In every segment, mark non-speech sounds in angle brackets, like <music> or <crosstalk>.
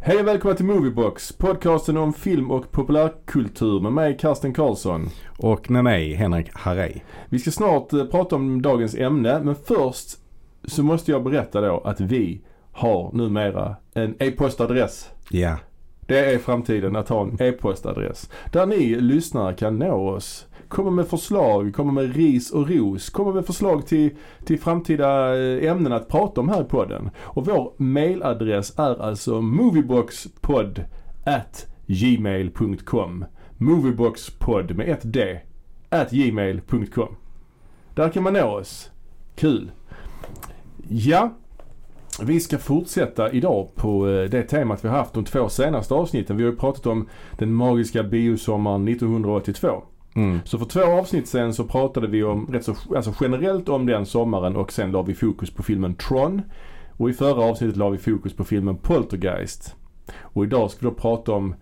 Hej och välkomna till Moviebox, podcasten om film och populärkultur med mig Karsten Karlsson. Och med mig Henrik Harrej. Vi ska snart eh, prata om dagens ämne, men först så måste jag berätta då att vi har numera en e-postadress. Ja. Det är framtiden att ha en e-postadress. Där ni lyssnare kan nå oss. Komma med förslag, komma med ris och ros, komma med förslag till, till framtida eh, ämnen att prata om här i podden. Och vår mailadress är alltså movieboxpodd at gmail.com Movieboxpodd med ett D at gmail.com Där kan man nå oss. Kul! Ja, vi ska fortsätta idag på eh, det temat vi har haft de två senaste avsnitten. Vi har ju pratat om den magiska biosommaren 1982. Mm. Så för två avsnitt sen så pratade vi om rätt så, alltså generellt om den sommaren och sen la vi fokus på filmen Tron. Och i förra avsnittet la vi fokus på filmen Poltergeist. Och idag ska vi då prata om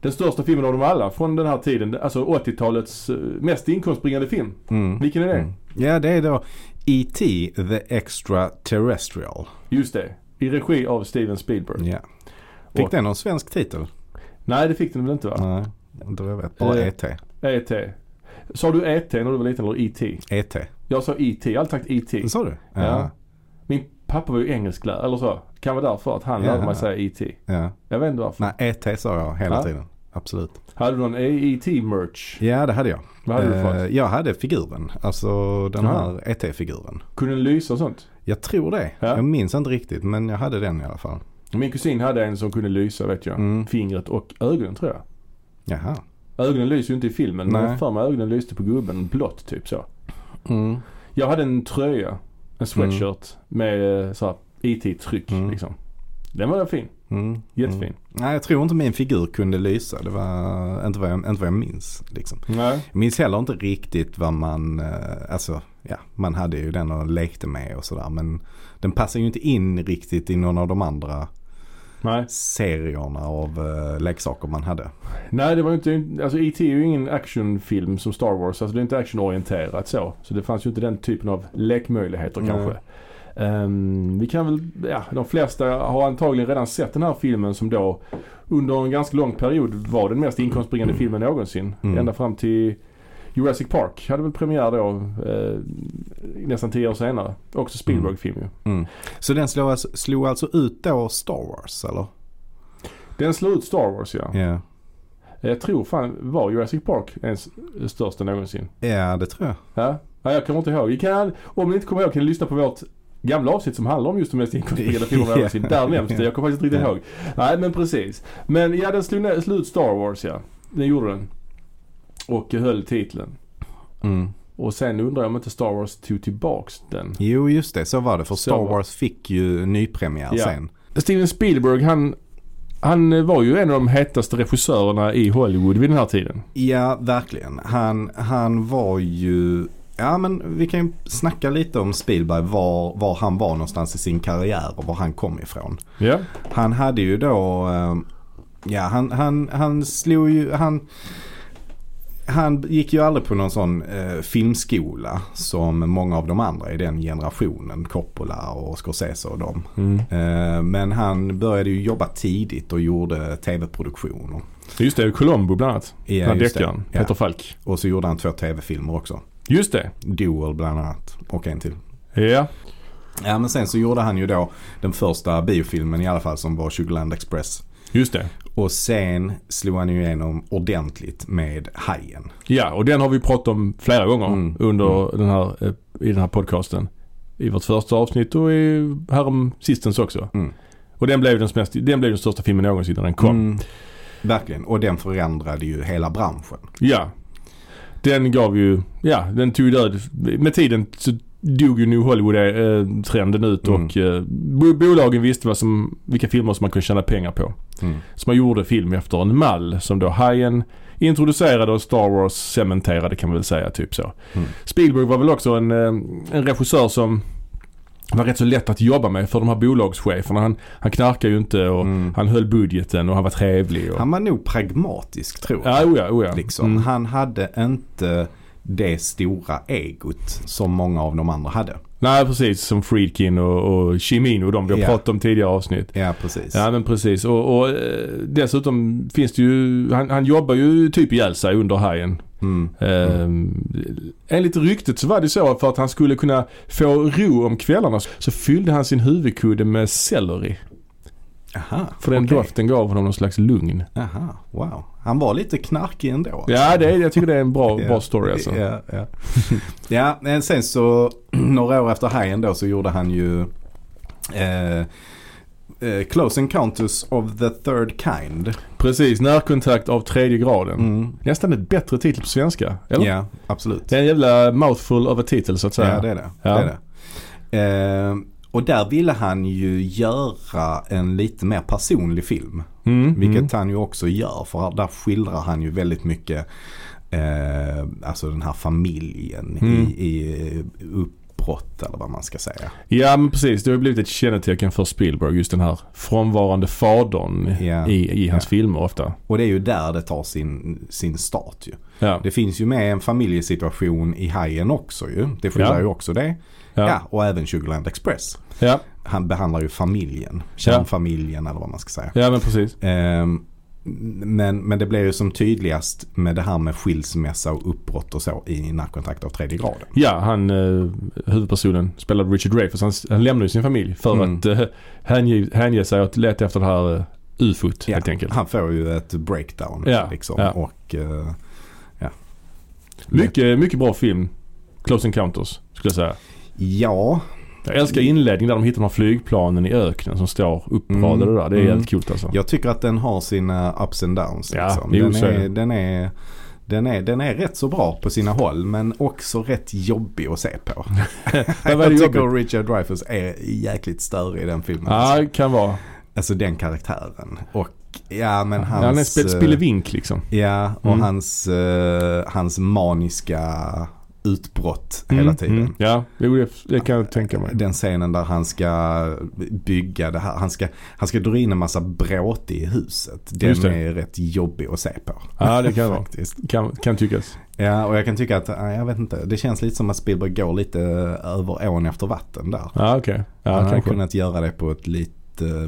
den största filmen av dem alla från den här tiden. Alltså 80-talets eh, mest inkomstbringande film. Mm. Vilken är det? Mm. Ja, det är då E.T. The Extraterrestrial. Just det. I regi av Steven Spielberg. Ja. Fick Och- den någon svensk titel? Nej, det fick den väl inte va? Nej, inte vad jag vet. Bara E Eh. E.T. E.T. Sa du E.T. när du var liten eller E.T.? E.T. Jag sa E.T. Jag har alltid sagt E.T. E Sa du? Ja. Min pappa var ju engelsklärare eller så. Kan vara därför att han Ja. lärde mig säga E.T. ja. Jag vet inte varför. Nej, E.T. sa jag hela Ja. tiden. Absolut. Hade du någon E E.T.-merch? Ja, det hade jag. Vad hade du Eh, fått? Jag hade figuren. Alltså den Jaha. här E.T.-figuren. Kunde den lysa och sånt? Jag tror det. Ja. Jag minns inte riktigt men jag hade den i alla fall. Min kusin hade en som kunde lysa vet jag. Mm. Fingret och ögonen tror jag. Jaha. Ögonen lyser ju inte i filmen men Nej. jag för mig ögonen lyste på gubben blått typ så. Mm. Jag hade en tröja, en sweatshirt med eh, så här E.T.-tryck Mm. liksom. Den var fin. Mm. Jättefin. Mm. Nej, jag tror inte min figur kunde lysa. Det var inte vad jag, inte vad jag minns. Liksom. Nej. Jag minns heller inte riktigt vad man, eh, alltså ja, man hade ju den och lekte med och sådär. Men den passar ju inte in riktigt i någon av de andra Nej. serierna av eh, leksaker man hade. Nej, det var ju inte... Alltså E.T. är ju ingen actionfilm som Star Wars. Alltså det är inte actionorienterat så. Så det fanns ju inte den typen av lekmöjligheter Nej. kanske. Ehm, vi kan väl... Ja, de flesta har antagligen redan sett den här filmen som då under en ganska lång period var den mest inkomstbringande filmen någonsin. Mm. Ända fram till Jurassic Park hade väl premiär då eh, nästan tio år senare. Också Spielberg-film ju. Mm. Så den slog alltså, slog alltså ut då Star Wars eller? Den slog ut Star Wars ja. Ja, Jag tror fan var Jurassic Park ens största någonsin. ja det tror jag. Ja, ja jag kommer inte ihåg. Vi kan, om ni inte kommer ihåg kan ni lyssna på vårt gamla avsnitt som handlar om just de mest inkontrollerade filmerna Ja. någonsin. Där nämns det. Jag kommer faktiskt inte riktigt Ja. ihåg. Nej, men precis. Men ja, den slog ner- slog ut Star Wars ja. Den gjorde den. Och höll titeln. Mm. Och sen undrar jag om inte Star Wars tog tillbaks den. Jo just det, så var det. För Så Star var- Wars fick ju nypremiär Ja. sen. Steven Spielberg han, han var ju en av de hetaste regissörerna i Hollywood vid den här tiden. Ja, verkligen. Han, han var ju... Ja, men vi kan ju snacka lite om Spielberg, var, var han var någonstans i sin karriär och var han kom ifrån. Ja. Han hade ju då... eh, Ja, han, han, han slog ju... Han, han gick ju aldrig på någon sån eh, filmskola som många av de andra i den generationen, Coppola och Scorsese och dem. Eh, men han började ju jobba tidigt och gjorde tv-produktioner. Just det, Columbo bland annat. Ja, den här just det. deckaren. Ja. Peter Falk. Och så gjorde han två tv-filmer också. Just det. Duel bland annat och en till. Ja. Ja men sen så gjorde han ju då den första biofilmen i alla fall som var Sugarland Express. Just det. Och sen slog han ju igenom ordentligt med Hajen. Ja, och den har vi pratat om flera gånger Mm. under Den här, eh, i den här podcasten. I vårt första avsnitt och i, härom sistens också. Mm. Och den blev den, mest, den blev den största filmen någonsin när den kom. Mm, verkligen och den förändrade ju hela branschen. Ja. Den gav ju, ja den tog ju död. Med tiden så dog ju nu Hollywood-trenden ut Mm. och eh, bo- bolagen visste vad som, vilka filmer som man kunde tjäna pengar på. Mm. Så man gjorde film efter en mall som då Hajen introducerade och Star Wars cementerade kan man väl säga typ så. Mm. Spielberg var väl också en, eh, en regissör som var rätt så lätt att jobba med för de här bolagscheferna. Han, han knarkade ju inte och Mm. han höll budgeten och han var trevlig. Och, Han var nog pragmatisk tror jag. ja, oja, oja. Liksom. Mm. Han hade inte det stora egot som många av de andra hade. Nej precis som Friedkin och, och Chimino de vi har Ja. pratat om tidigare avsnitt. Ja, precis. Ja men precis och, och eh, dessutom finns det ju, han, han jobbar ju typ ihjäl sig under hajen. Mm. Ehm, enligt ryktet så var det så för att han skulle kunna få ro om kvällarna så fyllde han sin huvudkudde med selleri. Aha, För den okej. doften gav honom någon slags lugn. Aha, wow. Han var lite knarkig ändå. Ja det, är- jag tycker det är en bra, Ja. bra story alltså. Ja, ja. ja, men sen så <clears throat> några år efter Hajen då så gjorde han ju eh, eh, Close Encounters of the Third Kind. Precis, närkontakt av tredje graden. Mm. Nästan ett bättre titel på svenska, eller? Ja, absolut. Det är en jävla mouthful av a titel så att säga. Ja, det är det. Ja. det, är det. Eh, och där ville han ju göra en lite mer personlig film. Mm, Vilket mm. han ju också gör för där skildrar han ju väldigt mycket eh, alltså den här familjen Mm. i, i uppbrott eller vad man ska säga. Ja men precis, det har ju blivit ett kännetecken för Spielberg. Just den här frånvarande fadern Ja. i, i hans Ja. filmer ofta. Och det är ju där det tar sin, sin start ju. Ja. Det finns ju med en familjesituation i Hajen också ju. Det skildrar Ja. ju också det. Ja. Ja. Ja. och även Sugarland Express. Ja. Han behandlar ju familjen. Kärnfamiljen eller vad man ska säga. men precis. Ehm, men, men det blir ju som tydligast med det här med skilsmässa och uppbrott och så i närkontakt av tredje graden. Ja, han eh, huvudpersonen spelade Richard Dreyfuss. Han, han lämnade ju sin familj för Mm. att eh, hänge, hänge sig åt leta efter det här eh, ufot helt enkelt. Han får ju ett breakdown. Ja, Liksom, ja. Och, eh, ja. Mycket, mycket bra film. Close Encounters skulle jag säga. Ja, Jag älskar inledningen där de hittar de här flygplanen i öknen som står uppradade Mm. där. Det är Mm. jävligt coolt alltså. jag tycker att den har sina ups and downs. Ja, liksom. jo, den, så är är, det. den, är, den, är, den är rätt så bra på sina håll men också rätt jobbig att se på. <laughs> Men vad är jag det tycker jobbigt? Richard Dreyfuss är jäkligt större i den filmen. Ja, Alltså. det kan vara. alltså den karaktären. Och ja men hans... eh, Han är spe- spillevink liksom. Ja, och Mm. hans, eh, hans maniska utbrott hela Mm, tiden. mm. Ja, jo, det, det kan jag tänka mig. Den scenen där han ska bygga det här. Han ska, han ska dra in en massa bråte i huset. Just Den det. är rätt jobbig att se på. Ja, det kan det vara. Faktiskt. Kan, kan tyckas. Ja, och jag kan tycka att, nej, jag vet inte. Det känns lite som att Spielberg går lite över ån efter vatten där. Ja, okej. han Ja, hade kanske. kunnat göra det på ett lite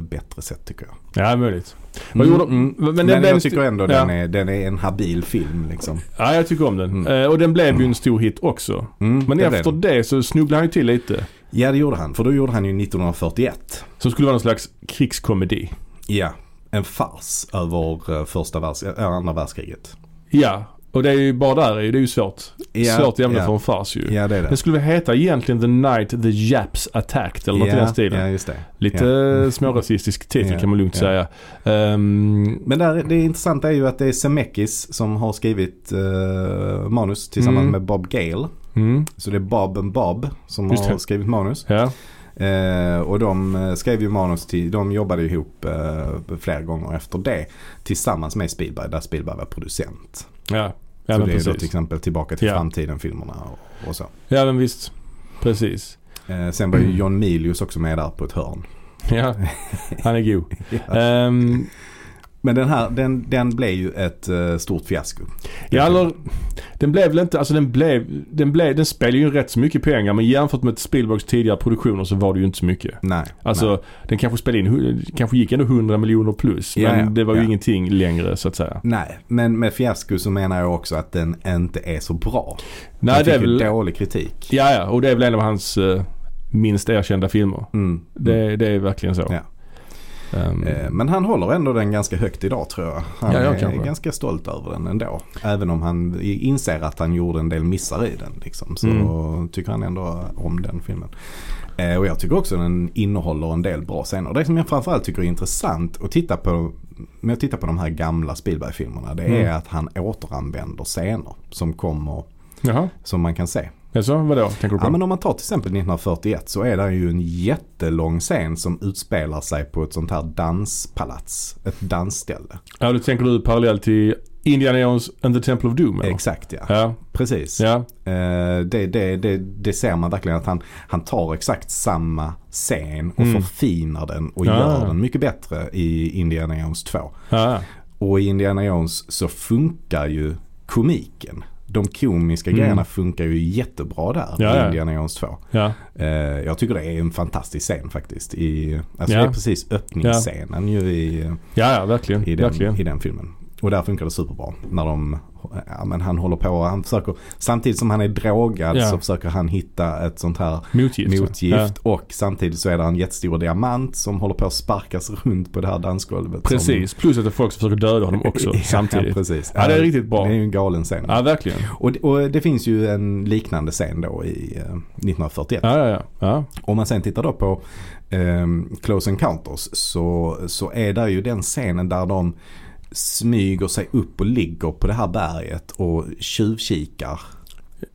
bättre sätt tycker jag. Mm. Ja, möjligt. Vad gjorde- mm, men den Men, blev en jag sti- tycker ändå ja. den, är, den är en habil film liksom. Ja, jag tycker om den. Mm. Eh, och den blev ju en stor hit också. Mm, Men det blev efter den. det så snubblade han ju till lite. Ja det gjorde han, för då gjorde han ju 1941. Som skulle vara någon slags krigskomedi. Ja, en fars över eh, första världs- äh, andra världskriget. Ja, och det är ju bara där är ju- det är ju svårt. Ja, svårt ämne ja. för en fars ju. Ja det är det. Den skulle väl heta egentligen The Night the Japs Attacked eller något i den stilen. Ja, just det. Lite yeah. smårasistisk titel Ja, kan man lugnt ja. säga. Ehm, Men där, det intressanta är ju att det är Semekis som har skrivit eh, manus tillsammans Mm. med Bob Gale. mm, Så det är Bob and Bob som Just har det. skrivit manus. ja. Eh, och de eh, skrev ju manus till, de jobbade ihop eh, flera gånger efter det. Tillsammans med Spielberg, där Spielberg var producent. Ja, ja så men det är liksom. då till precis. exempel Tillbaka till Ja. framtiden-filmerna och, och så. Ja men visst. Precis. Eh, sen var Mm. ju John Milius också med där på <laughs> ett hörn. Ja, han är <laughs> god. Ehm, Men den här, den, den blev ju ett eh, stort fiasko. ja, Liksom. eller, den blev väl inte, alltså den blev, den blev, den spelade ju rätt så mycket pengar men jämfört med Spielbergs tidigare produktioner så var det ju inte så mycket. Nej. Alltså den kanske spelade in, hu- kanske gick ändå 100 miljoner plus men Ja, ja, det var ju ja. ingenting längre så att säga. nej. nej, men med fiasko så menar jag också att den inte är så bra. Nej den det är fick ju väl, dålig kritik. ja ja och det är väl en av hans eh, minst erkända filmer. Mm. Det, det är verkligen så. Ja. Ehm, Eh, Men han håller ändå den ganska högt idag tror jag. Han Ja, jag är kanske. ganska stolt över den ändå. Även om han inser att han gjorde en del missar i den. Liksom, så Mm. tycker han ändå om den filmen. Eh, Och jag tycker också den innehåller en del bra scener. Det som jag framförallt tycker är intressant att titta på med att titta på de här gamla Spielberg-filmerna. Det är Mm. att han återanvänder scener som kommer, Jaha, som man kan se. alltså, vadå tänker du på? Ja, men om man tar till exempel 1941 så är det ju en jättelång scen som utspelar sig på ett sånt här danspalats. Ett dansställe. Ja, då tänker du parallellt till Indiana Jones and the Temple of Doom eller? Exakt ja. Ja, Precis. ja, Eh, det, det, det, det ser man verkligen att han, han tar exakt samma scen och Mm. förfinar den och Ja. gör den mycket bättre i Indiana Jones 2. ja, ja. Och i Indiana Jones så funkar ju komiken. de komiska Mm. grejerna funkar ju jättebra där Ja, ja. i Indiana Jones 2. Ja, Eh, jag tycker det är en fantastisk scen faktiskt. I, alltså Ja. Det är precis öppningsscenen ju i, ja, ja verkligen. i, den, verkligen. i den filmen. Och där funkar det superbra. När de, ja, men han håller på, han försöker, samtidigt som han är drogad Ja. så försöker han hitta ett sånt här Motgift. så. Ja. motgift och samtidigt så är det en jättestor diamant som håller på att sparkas runt på det här dansgolvet. Precis, plus att det är folk som försöker döda honom Som, också <laughs> ja, samtidigt. precis. Ja, det är riktigt bra. Det är ju en galen scen. Ja, verkligen. Och, det- och det finns ju en liknande scen då i eh, 1941. Ja, ja, ja. ja. Om man sen tittar då på eh, Close Encounters så, så är det ju den scenen där de smyger sig upp och ligger på det här berget och tjuvkikar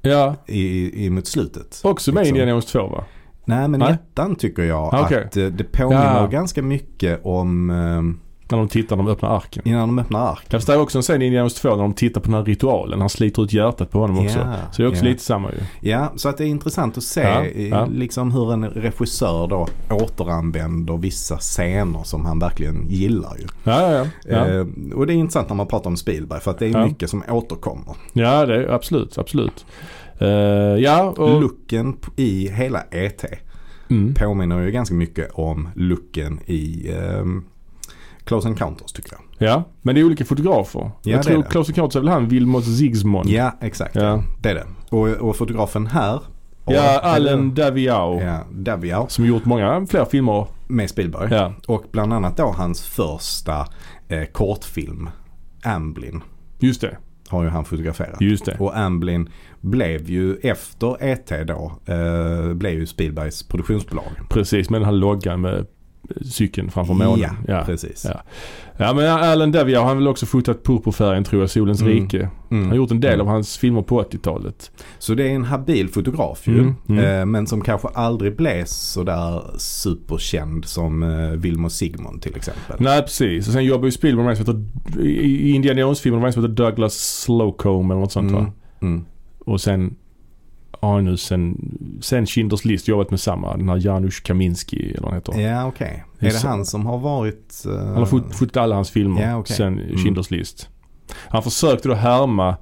ja. i, i, mot slutet. Också med i Liksom. Indiana Jones 2 va? Nej men i Nej. ettan tycker jag Ah, okej. att eh, det påminner Ja. ganska mycket om eh, När de tittar när de öppnar arken. innan de öppnar ark. Jag förstår också en scen i Indiana Jones 2 när de tittar på den här ritualen. Han sliter ut hjärtat på honom också. Ja, Så det är också ja. lite samma ju. Ja, så att det är intressant att se Ja, eh, ja. Liksom hur en regissör då återanvänder vissa scener som han verkligen gillar ju. Ja, ja, ja. Ja, Eh, och det är intressant när man pratar om Spielberg för att det är Ja. mycket som återkommer. ja det är absolut, absolut. Eh, ja, och... Looken p- i hela ET Mm. påminner ju ganska mycket om looken i ehm, Close Encounters tycker jag. Ja, men det är olika fotografer. det är jag tror det. Close Encounters är väl han Wilmot Zsigmond. Ja, exakt. Ja. Det är det. Och, och fotografen här. ja och- Allen Daviau. Ja, Daviau Som gjort många fler filmer. med Spielberg. Ja, Och bland annat då hans första eh, kortfilm, Amblin, just det. har ju han fotograferat. Just det. Och Amblin blev ju efter ET då, eh, blev ju Spielbergs produktionsbolag. Precis, med den här loggan med cykeln framför månen. Ja, Ja, ja. precis. Ja. men Allen Daviau han har väl också fotat Purpurfärgen tror jag, Solens Mm. rike. Mm. Han har gjort en del Mm. av hans filmer på 80-talet. Så det är en habil fotograf ju. Mm, mm. Eh, men som kanske aldrig blev sådär superkänd som eh, Vilmo Sigmund till exempel. Nej precis. Och sen jobbar ju Spielberg med en som heter, i- i Indiana Jones-filmen med en som heter Douglas Slocombe eller något sånt va? Mm, mm. Och sen har han nu sen, sen Schindler's list jobbat med samma, den här Janusz Kaminski eller vad han heter. Ja, okej. Det är Är det så- han som har varit... eh, Han har fot- fotat alla hans filmer Ja, okej. Mm. sen Schindler's list. Han försökte då härma eh,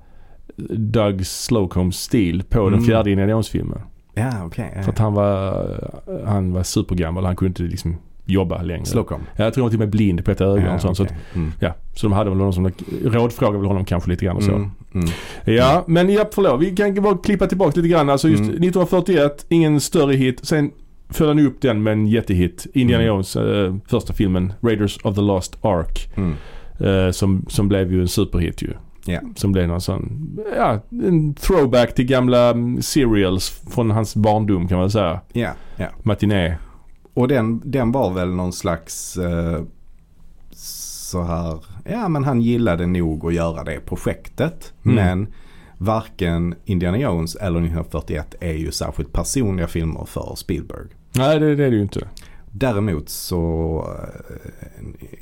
Doug Slocums stil på den Mm. fjärde Indiana Jones-filmen. Ja, okej. För att han var, eh, han var supergammal, han kunde inte liksom jobba längre. Slocum. Ja, Jag tror han var till och med blind på ett öga och sånt. Så att okej. Mm. Ja, så de hade väl honom som rådfrågade väl honom kanske lite grann och så. Mm, mm. Ja, men ja, förlåt. Vi kan bara klippa tillbaka lite grann. Alltså just Mm. 1941, ingen större hit. Sen följde han upp den med en jättehit. Indiana Mm. Jones, eh, första filmen Raiders of the Lost Ark. Mm. Eh, som, som blev ju en superhit ju. Ja. Som blev någon sån, ja, en throwback till gamla mm, serials från hans barndom kan man säga. Ja, ja. Matiné. Och den, den var väl någon slags eh, så här. Ja men han gillade nog att göra det projektet. Mm. Men varken Indiana Jones eller 1941 är ju särskilt personliga filmer för Spielberg. Nej, det, det är det ju inte. Däremot så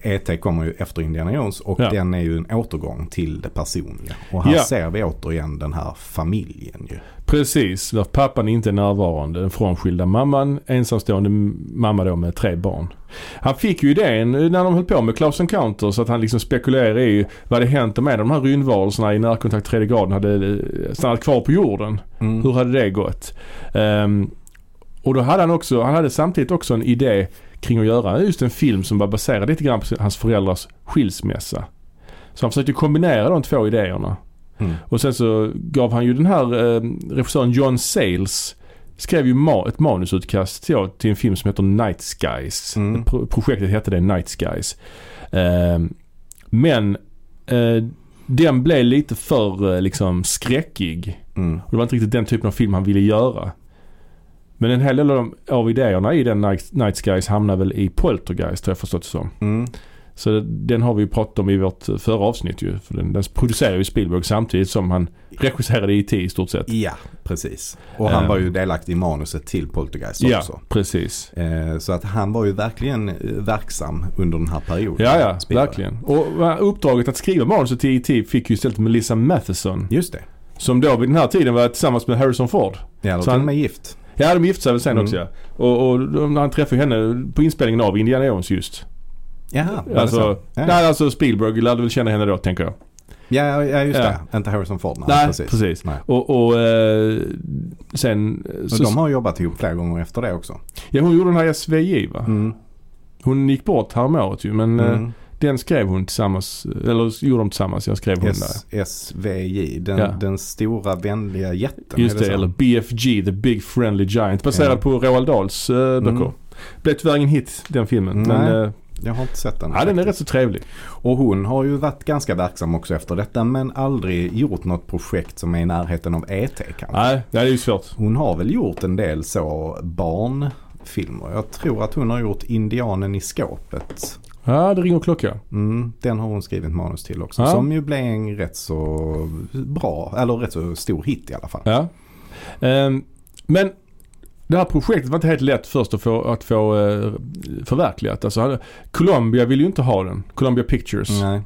eh, ET kommer ju efter Indiana Jones och Ja. den är ju en återgång till det personliga. Och här Ja. ser vi återigen den här familjen ju. Precis, där pappan inte är närvarande. Den frånskilda mamman, ensamstående m- mamma då med tre barn. Han fick ju idén eh, när de höll på med Klaus Counters att han liksom spekulerade i vad det hänt om en av de här rymdvarelserna i närkontakt tredje graden hade eh, stannat kvar på jorden. Mm. Hur hade det gått? Ehm, och då hade han också, han hade samtidigt också en idé kring att göra just en film som var baserad lite grann på hans föräldrars skilsmässa. Så han försökte kombinera de två idéerna. Mm. Och sen så gav han ju den här eh, regissören John Sayles skrev ju ma- ett manusutkast till, till en film som heter Night Skies. Mm. Pro- projektet hette det Night Skies. Eh, men eh, den blev lite för eh, liksom skräckig. Mm. Och det var inte riktigt den typen av film han ville göra. Men en hel del av, de, av idéerna i den Night, Night Skies hamnar väl i Poltergeist har jag förstått det som. Mm. Så den har vi ju pratat om i vårt eh, förra avsnitt ju. För den, den producerar ju Spielberg samtidigt som han regisserade IT i stort sett. Ja, precis. Och han Ehm. var ju delaktig i manuset till Poltergeist Ja, också. precis. Eh, Så att han var ju verkligen eh, verksam under den här perioden. Ja, ja, Spielberg. verkligen. Och va, uppdraget att skriva manuset till IT fick ju istället Melissa Matheson. Just det. Som då vid den här tiden var tillsammans med Harrison Ford. Ja, då Så till och han- med gift. Ja, de gifte sig väl sen Mm. också ja. Och, och de, han träffade ju henne på inspelningen av Indiana Jones just. Jaha, var det Alltså, så? Ja. nej, alltså Spielberg lärde väl känna henne då tänker jag. Ja, ja just Ja. det. Inte Harrison Ford. Nej, Nej, precis. precis. Nej. Och, och eh, sen... Men Så, de har jobbat ihop flera gånger efter det också. Ja, hon gjorde den här SVJ va? Mm. Hon gick bort häromåret ju men eh, Mm. den skrev hon tillsammans, eller gjorde de tillsammans, jag skrev hon där. S- SVJ, den, Ja. den stora vänliga jätten. Just är det, så? eller BFG, The Big Friendly Giant, baserad Ja. på Roald Dahls eh, Mm. böcker. Blev tyvärr ingen hit den filmen, Nej. men eh, Jag har inte sett den. ja, den är rätt så trevlig. Och hon har ju varit ganska verksam också efter detta men aldrig gjort något projekt som är i närheten av E.T. kanske. Nej, det är ju svårt. Hon har väl gjort en del så barnfilmer. Jag tror att hon har gjort Indianen i skåpet. Ja, det ringer klocka. Mm, den har hon skrivit manus till också. Ja. Som ju blev en rätt så bra, eller rätt så stor hit i alla fall. Ja. Ehm, men det här projektet var inte helt lätt först att få, att få eh, förverkligat. Alltså, hade- Columbia ville ju inte ha den. Columbia Pictures. Nej.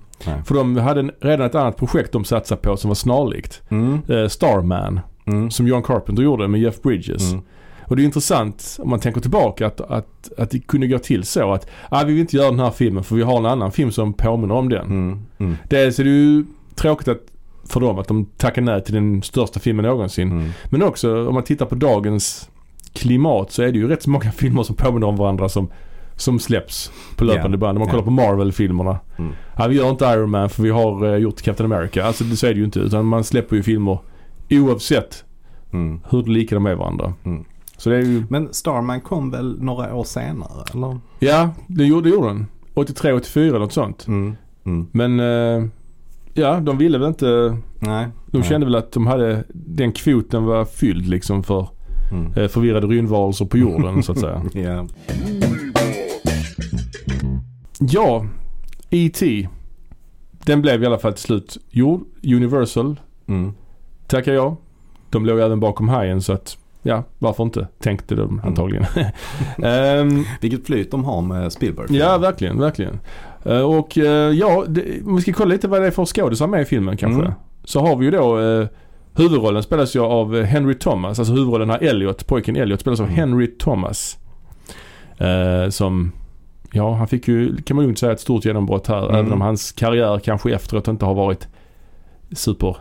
För de hade en, redan ett annat projekt de satsade på som var snarlikt. Mm, Eh, Starman, mm, som John Carpenter gjorde med Jeff Bridges. mm. Och det är intressant om man tänker tillbaka att, att, att det kunde gå till så att ah, vi vill inte göra den här filmen för vi har en annan film som påminner om den. Mm, mm, Dels är det ju tråkigt att, för dem att de tackar nej till den största filmen någonsin. mm. Men också om man tittar på dagens klimat så är det ju rätt så många <laughs> filmer som påminner om varandra som, som släpps på löpande Ja, band. Om man ja. kollar på Marvel-filmerna. Mm. Ja, vi gör inte Iron Man för vi har eh, gjort Captain America. Alltså det så är det ju inte. Utan man släpper ju filmer oavsett Mm. hur lika de är varandra. Mm. Så det är ju... Men Starman kom väl några år senare? Eller? Ja, det gjorde, det gjorde den. 83, 84 eller något sånt. Mm. Mm. Men eh, ja, de ville väl inte... Nej. De Nej. kände väl att de hade... Den kvoten var fylld liksom för Mm. eh, förvirrade rymdvarelser på jorden så att <laughs> säga. Ja. Ja, E.T. Den blev i alla fall till slut gjord. Universal Mm. tackar jag. De låg även bakom hajen så att ja, varför inte? Tänkte de antagligen. <laughs> Ehm, Vilket flyt de har med Spielberg. ja, verkligen, verkligen. Eh, och eh, ja, det, om vi ska kolla lite vad det är för skådisar med i filmen kanske. Mm. Så har vi ju då eh, huvudrollen spelas ju av eh, Henry Thomas. Alltså huvudrollen här Elliot, pojken Elliot spelas av Mm. Henry Thomas. Eh, som, ja han fick ju kan man lugnt säga ett stort genombrott här. Mm. Även om hans karriär kanske efteråt inte har varit super.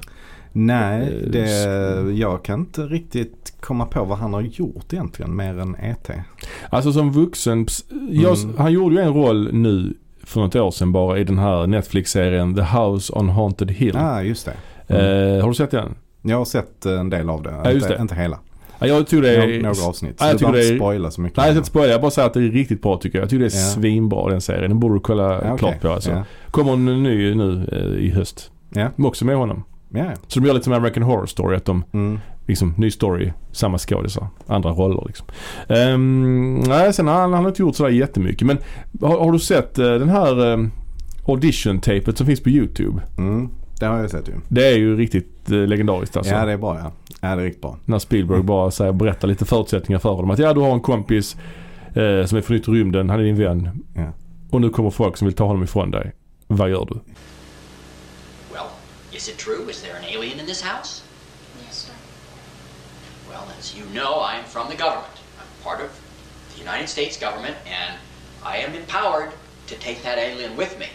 Nej, Eh, det, s- jag kan inte riktigt komma på vad han har gjort egentligen mer än E E.T. Alltså som vuxen, ps- jag, Mm. han gjorde ju en roll nu för något år sedan bara i den här Netflix-serien The House on Haunted Hill. Ja, ah, just det. Eh, har du sett den? Jag har sett en del av det. Ja, just inte, det. inte hela. Ja, jag tycker det Nå- är... Några avsnitt. Ja, jag så du tycker behöver det inte är- spoila så mycket. Nej, jag ska inte spoila. Jag bara säger att det är riktigt bra tycker jag. Jag tycker det är Ja. svinbra den serien. Den borde du kolla Ja, okej. klart på alltså. Ja. Kommer en ny nu eh, i höst. Ja. Men Också med honom. Ja. Så de gör lite som American Horror Story. Att de, Mm. liksom, ny story, samma skådisar. Andra roller liksom. Ehm, nej, sen har han, han har inte gjort sådär jättemycket. Men har, har du sett eh, den här um, audition-tapet som finns på YouTube? Mm. Det har jag sett ju. Det är ju riktigt eh, legendariskt alltså. Ja, det är bra ja. Ja, det är riktigt bra. När Spielberg Mm. bara säger, berättar lite förutsättningar för honom. Att ja, du har en kompis eh, som är från yttre rymden. Han är din vän. Ja. Och nu kommer folk som vill ta honom ifrån dig. Vad gör du? Well, is it true? Is there an alien in this house? Yes, sir. Well, as you know, I am from the government. I'm part of the United States government, and I am empowered to take that alien with me.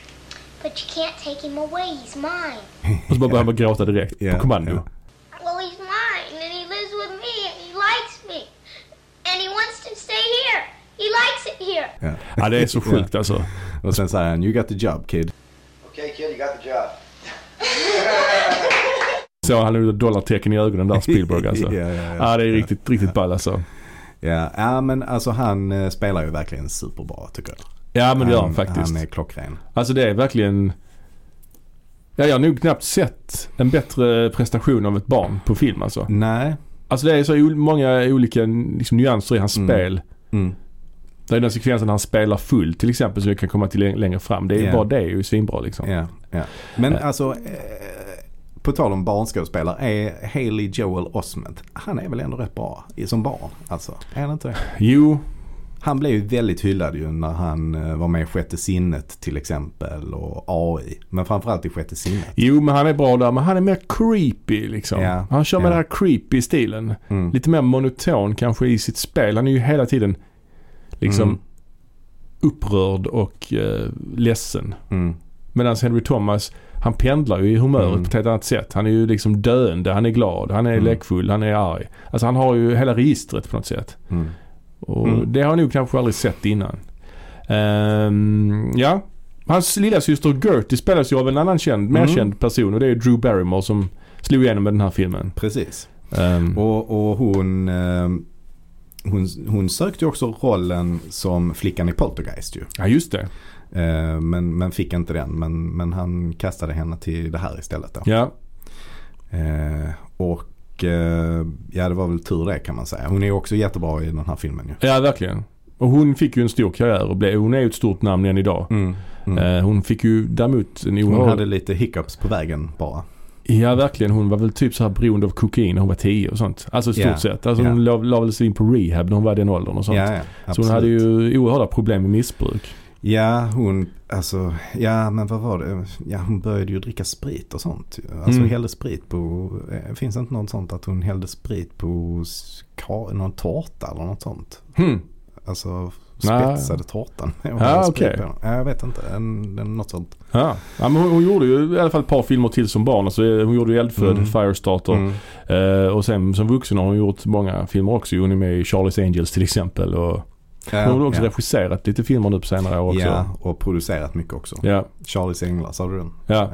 But you can't take him away. He's mine. Och så bara börjar man gråta direkt. Ja, På kommando. ja. Well, he's mine, and he lives with me, and he likes me. And he wants to stay here. He likes it here. <laughs> Ja. Ja, det är så sjukt alltså. Och sen säger han You got the job kid. Okay, kid, you got the job. Så han hade dollartecken i ögonen där Spielberg <laughs> alltså. Ja, ja, ja. det är riktigt, riktigt ball alltså. Ja, ja men alltså han eh, spelar ju verkligen superbra tycker jag. Ja men det gör han han faktiskt. Han är klockren. Alltså det är verkligen... Ja, jag har nog knappt sett en bättre prestation av ett barn på film alltså. Nej. Alltså det är så ol- många olika liksom, nyanser i hans Mm. spel. Mm. Det är den sekvensen när han spelar full till exempel som vi kan komma till läng- längre fram. Det är Ja. bara det är ju svinbra liksom. Ja, ja. Men alltså, eh, på tal om barnskådespelare, är Haley Joel Osment, han är väl ändå rätt bra i- som barn? Alltså, är han inte det? Jo, Han blev ju väldigt hyllad ju när han eh, var med i Sjätte sinnet till exempel och AI. Men framförallt i Sjätte sinnet. jo men han är bra där men han är mer creepy liksom. Ja. Han kör med Ja. den här creepy stilen. Mm. Lite mer monoton kanske i sitt spel. Han är ju hela tiden liksom Mm. upprörd och eh, ledsen. Mm. Medan Henry Thomas, Han pendlar ju i humöret Mm. på ett helt annat sätt. Han är ju liksom döende, han är glad, han är Mm. läckfull, han är arg. Alltså han har ju hela registret på något sätt. Mm. Och Mm. Det har jag nog kanske aldrig sett innan. Ehm, ja. Hans lilla syster Gertie spelas ju av en annan känd, mer Mm. känd person och det är Drew Barrymore som slog igenom med den här filmen. Precis. Ehm, Och, och hon, eh, hon, hon sökte ju också rollen som flickan i Poltergeist ju. ja just det. Eh, men, men fick inte den. Men, men han kastade henne till det här istället då. Ja. Eh, och eh, ja det var väl tur det kan man säga. Hon är ju också jättebra i den här filmen ju. ja, verkligen. Och hon fick ju en stor karriär och blev, hon är ju ett stort namn än idag. Mm. Mm. Eh, hon fick ju däremot en Hon oerhörd... hade lite hiccups på vägen bara. Ja verkligen. Hon var väl typ så här beroende av kokain när hon var 10 och sånt. Alltså i stort Ja. sett. Alltså hon Ja. la, la väl sig in på rehab när hon var i den åldern och sånt. Ja, ja, så hon absolut. hade ju oerhörda problem med missbruk. Ja, hon, alltså, ja men vad var det? Ja, hon började ju dricka sprit och sånt. ju. Alltså Mm. hällde sprit på, eh, finns det inte något sånt att hon hällde sprit på s- ka- någon tårta eller något sånt? Hmm. Alltså Nej. spetsade tårtan. <laughs> med Ja, hällde sprit okej. på den. Ja, jag vet inte, en, en, något sånt. Ja. ja, men hon, hon gjorde ju i alla fall ett par filmer till som barn. Alltså, eh, hon gjorde ju Eldfödd, Mm. Firestarter Mm. eh, och sen som vuxen har hon gjort många filmer också. Hon är med i Charlie's Angels till exempel. Och Ja, hon har också ja. regisserat lite filmer nu på senare år också. Ja, och producerat mycket också. Ja, Charlies Änglar, sa du den? ja.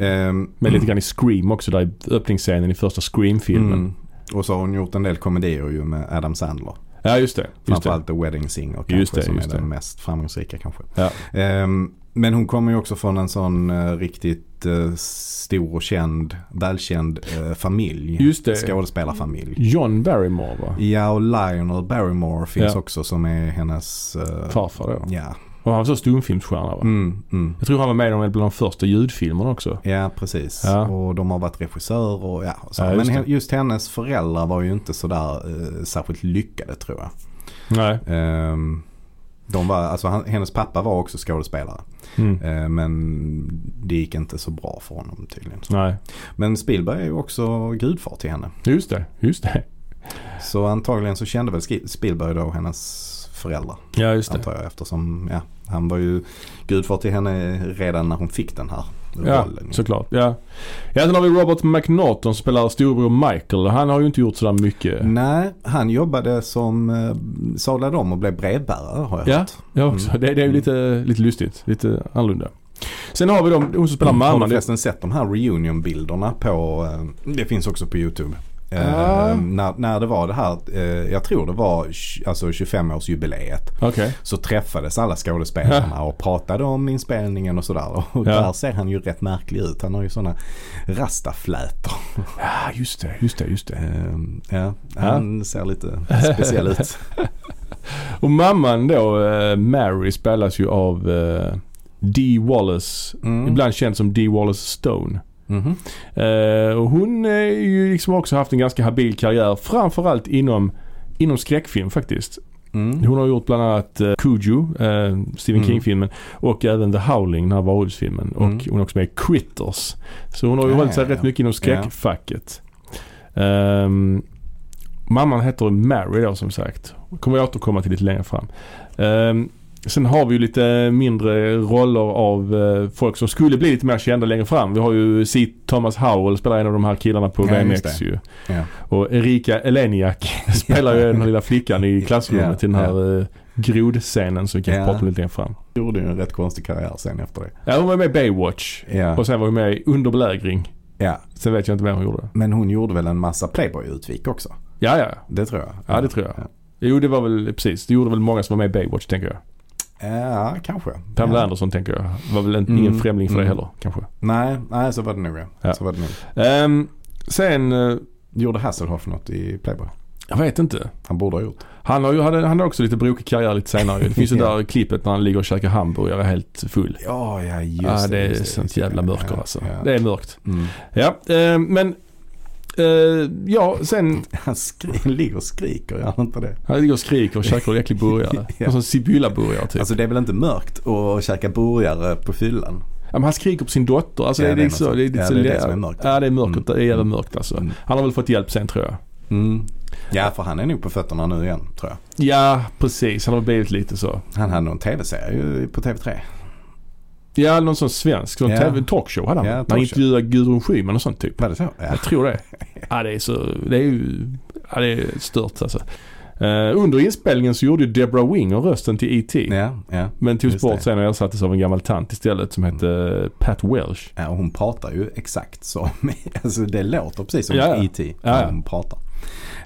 Ehm, Men lite grann i Scream också där i öppningsscenen i första Scream-filmen. mm. Och så har hon gjort en del komedier ju med Adam Sandler. Ja, just det. Just det. Framförallt The Wedding Singer kanske Just det, som just är det. den mest framgångsrika kanske. Ja. Ehm, men hon kommer ju också från en sån eh, riktigt eh, stor och känd, välkänd eh, familj. Just det. Skådespelarfamilj. John Barrymore va? Ja och Lionel Barrymore finns Ja. också som är hennes... eh, Farfar då. ja. Och han var så stumfilmsstjärna va? Mm, mm. Jag tror han var med om en bland de första ljudfilmerna också. Ja precis. Ja. Och de har varit regissörer och ja. Och så. Ja, just men he- det. just hennes föräldrar var ju inte sådär eh, särskilt lyckade tror jag. Nej. Ehm, de var, alltså, han, hennes pappa var också skådespelare. Mm. Eh, Men det gick inte så bra för honom tydligen. Nej. Men Spielberg är ju också gudfar till henne. Just det. Just det. Så antagligen så kände väl Ski- Spielberg då hennes föräldrar. Ja just det. Antar jag eftersom ja, han var ju gudfar till henne redan när hon fick den här Ja, rollen. såklart. Ja. ja, sen har vi Robert McNaughton som spelar storbror Michael. Han har ju inte gjort sådär mycket. Nej, han jobbade som eh, sadlade om och blev brevbärare har jag Ja, hört. ja också. Mm. Det, det är ju lite, lite lustigt. Lite annorlunda. Sen har vi dem, hon som spelar Mm, Har mamman. du Det, förresten sett de här reunion-bilderna på, eh, det finns också på YouTube. Eh, Ja. när, när det var det här, eh, jag tror det var tj- alltså 25-årsjubileet. Okej. Så träffades alla skådespelarna och pratade om inspelningen och sådär. Och Ja. där ser han ju rätt märklig ut. Han har ju sådana rastaflätor. Ja, just det. Just det, just det. Eh, ja, han ser lite <laughs> speciell ut. Och mamman då, eh, Mary, spelas ju av eh, Dee Wallace. Mm. Ibland känd som Dee Wallace Stone. Mhm. Eh, och hon är ju liksom också haft en ganska habil karriär. Framförallt inom, inom skräckfilm faktiskt. Mm. Hon har gjort bland annat eh, Cujo, eh, Stephen Mm. King-filmen. Och även The Howling, den här varulvsfilmen. Mm. Och hon är också med i Critters. Så hon har ju Ja, hållit sig ja, rätt ja. mycket inom skräckfacket. Ehm, mamman heter Mary då som sagt. Kommer jag återkomma till lite längre fram. Ehm, sen har vi ju lite mindre roller av eh, folk som skulle bli lite mer kända längre fram. Vi har ju C. Thomas Howell spelar en av de här killarna på Ja, just VMX det. ju. Ja. Och Erika Eleniak <laughs> spelar ju den här lilla flickan i klassrummet Ja, till den här eh, grodscenen som vi kan Ja. prata om lite längre fram. Gjorde ju en rätt konstig karriär sen efter det. Ja, hon var med i Baywatch. Ja. Och sen var hon med i Under belägring. ja. Sen vet jag inte vem hon gjorde. Men hon gjorde väl en massa Playboy-utvik också? Ja, ja. Det tror jag. Ja, det tror jag. Ja. Jo, det var väl precis. Det gjorde väl många som var med i Baywatch, tänker jag. Ja, kanske. Pamela ja. Anderson, tänker jag. Var väl en, Mm, ingen främling för det mm. heller, kanske. Nej, nej, så var det nog ja. Ja. Så var det nog. Ehm, sen, eh, Gjorde Hasselhoff något i Playboy? jag vet inte. Han borde ha gjort. Han har ju han, han har också lite brokig karriär lite senare. ju. Det finns ju det <laughs> Ja. där klippet när han ligger och käkar hamburgare helt full. Ja, ja just Ja, det är just sånt just det. jävla mörker Ja, alltså. ja. Det är mörkt. Mm. Ja, eh, men... Eh, ja, sen... <laughs> Han skri- ligger och skriker, gör han inte det? Han ligger och skriker och käkar en äcklig <laughs> burgare. Ja. Någon sån sibylla-burgare typ. Alltså det är väl inte mörkt att käka burgare på fyllan? ja, men han skriker på sin dotter. Alltså, Ja, det, är det är lite så, något det är lite sånt. Ja, så det är det lä- som är mörkt. Ja, det är mörkt. Det är jävla Mm. mörkt alltså. Mm. Han har väl fått hjälp sen tror jag. Mm. Ja, för han är nog på fötterna nu igen tror jag. Ja, precis. Han har blivit lite så. Han hade någon tv-serie ju på TV3. Ja, någon sån svensk. Sån Ja. yeah. talkshow hade han. Ja, Yeah, han talkshow. intervjuade Gudrun Schyman och sånt typ. Var det så? Ja. Jag tror det. Ja, det är så... Det är ju... Ja, det är stört alltså. Eh, under inspelningen så gjorde ju Deborah Winger rösten till E.T. Ja, ja. Men togs Just bort det. sen och ersattes av en gammal tant istället som hette Pat Welsh. Ja, Eh, och hon pratar ju exakt som, <laughs> alltså det låter precis som Ja, ja. E.T. Ja, när ja. hon pratar.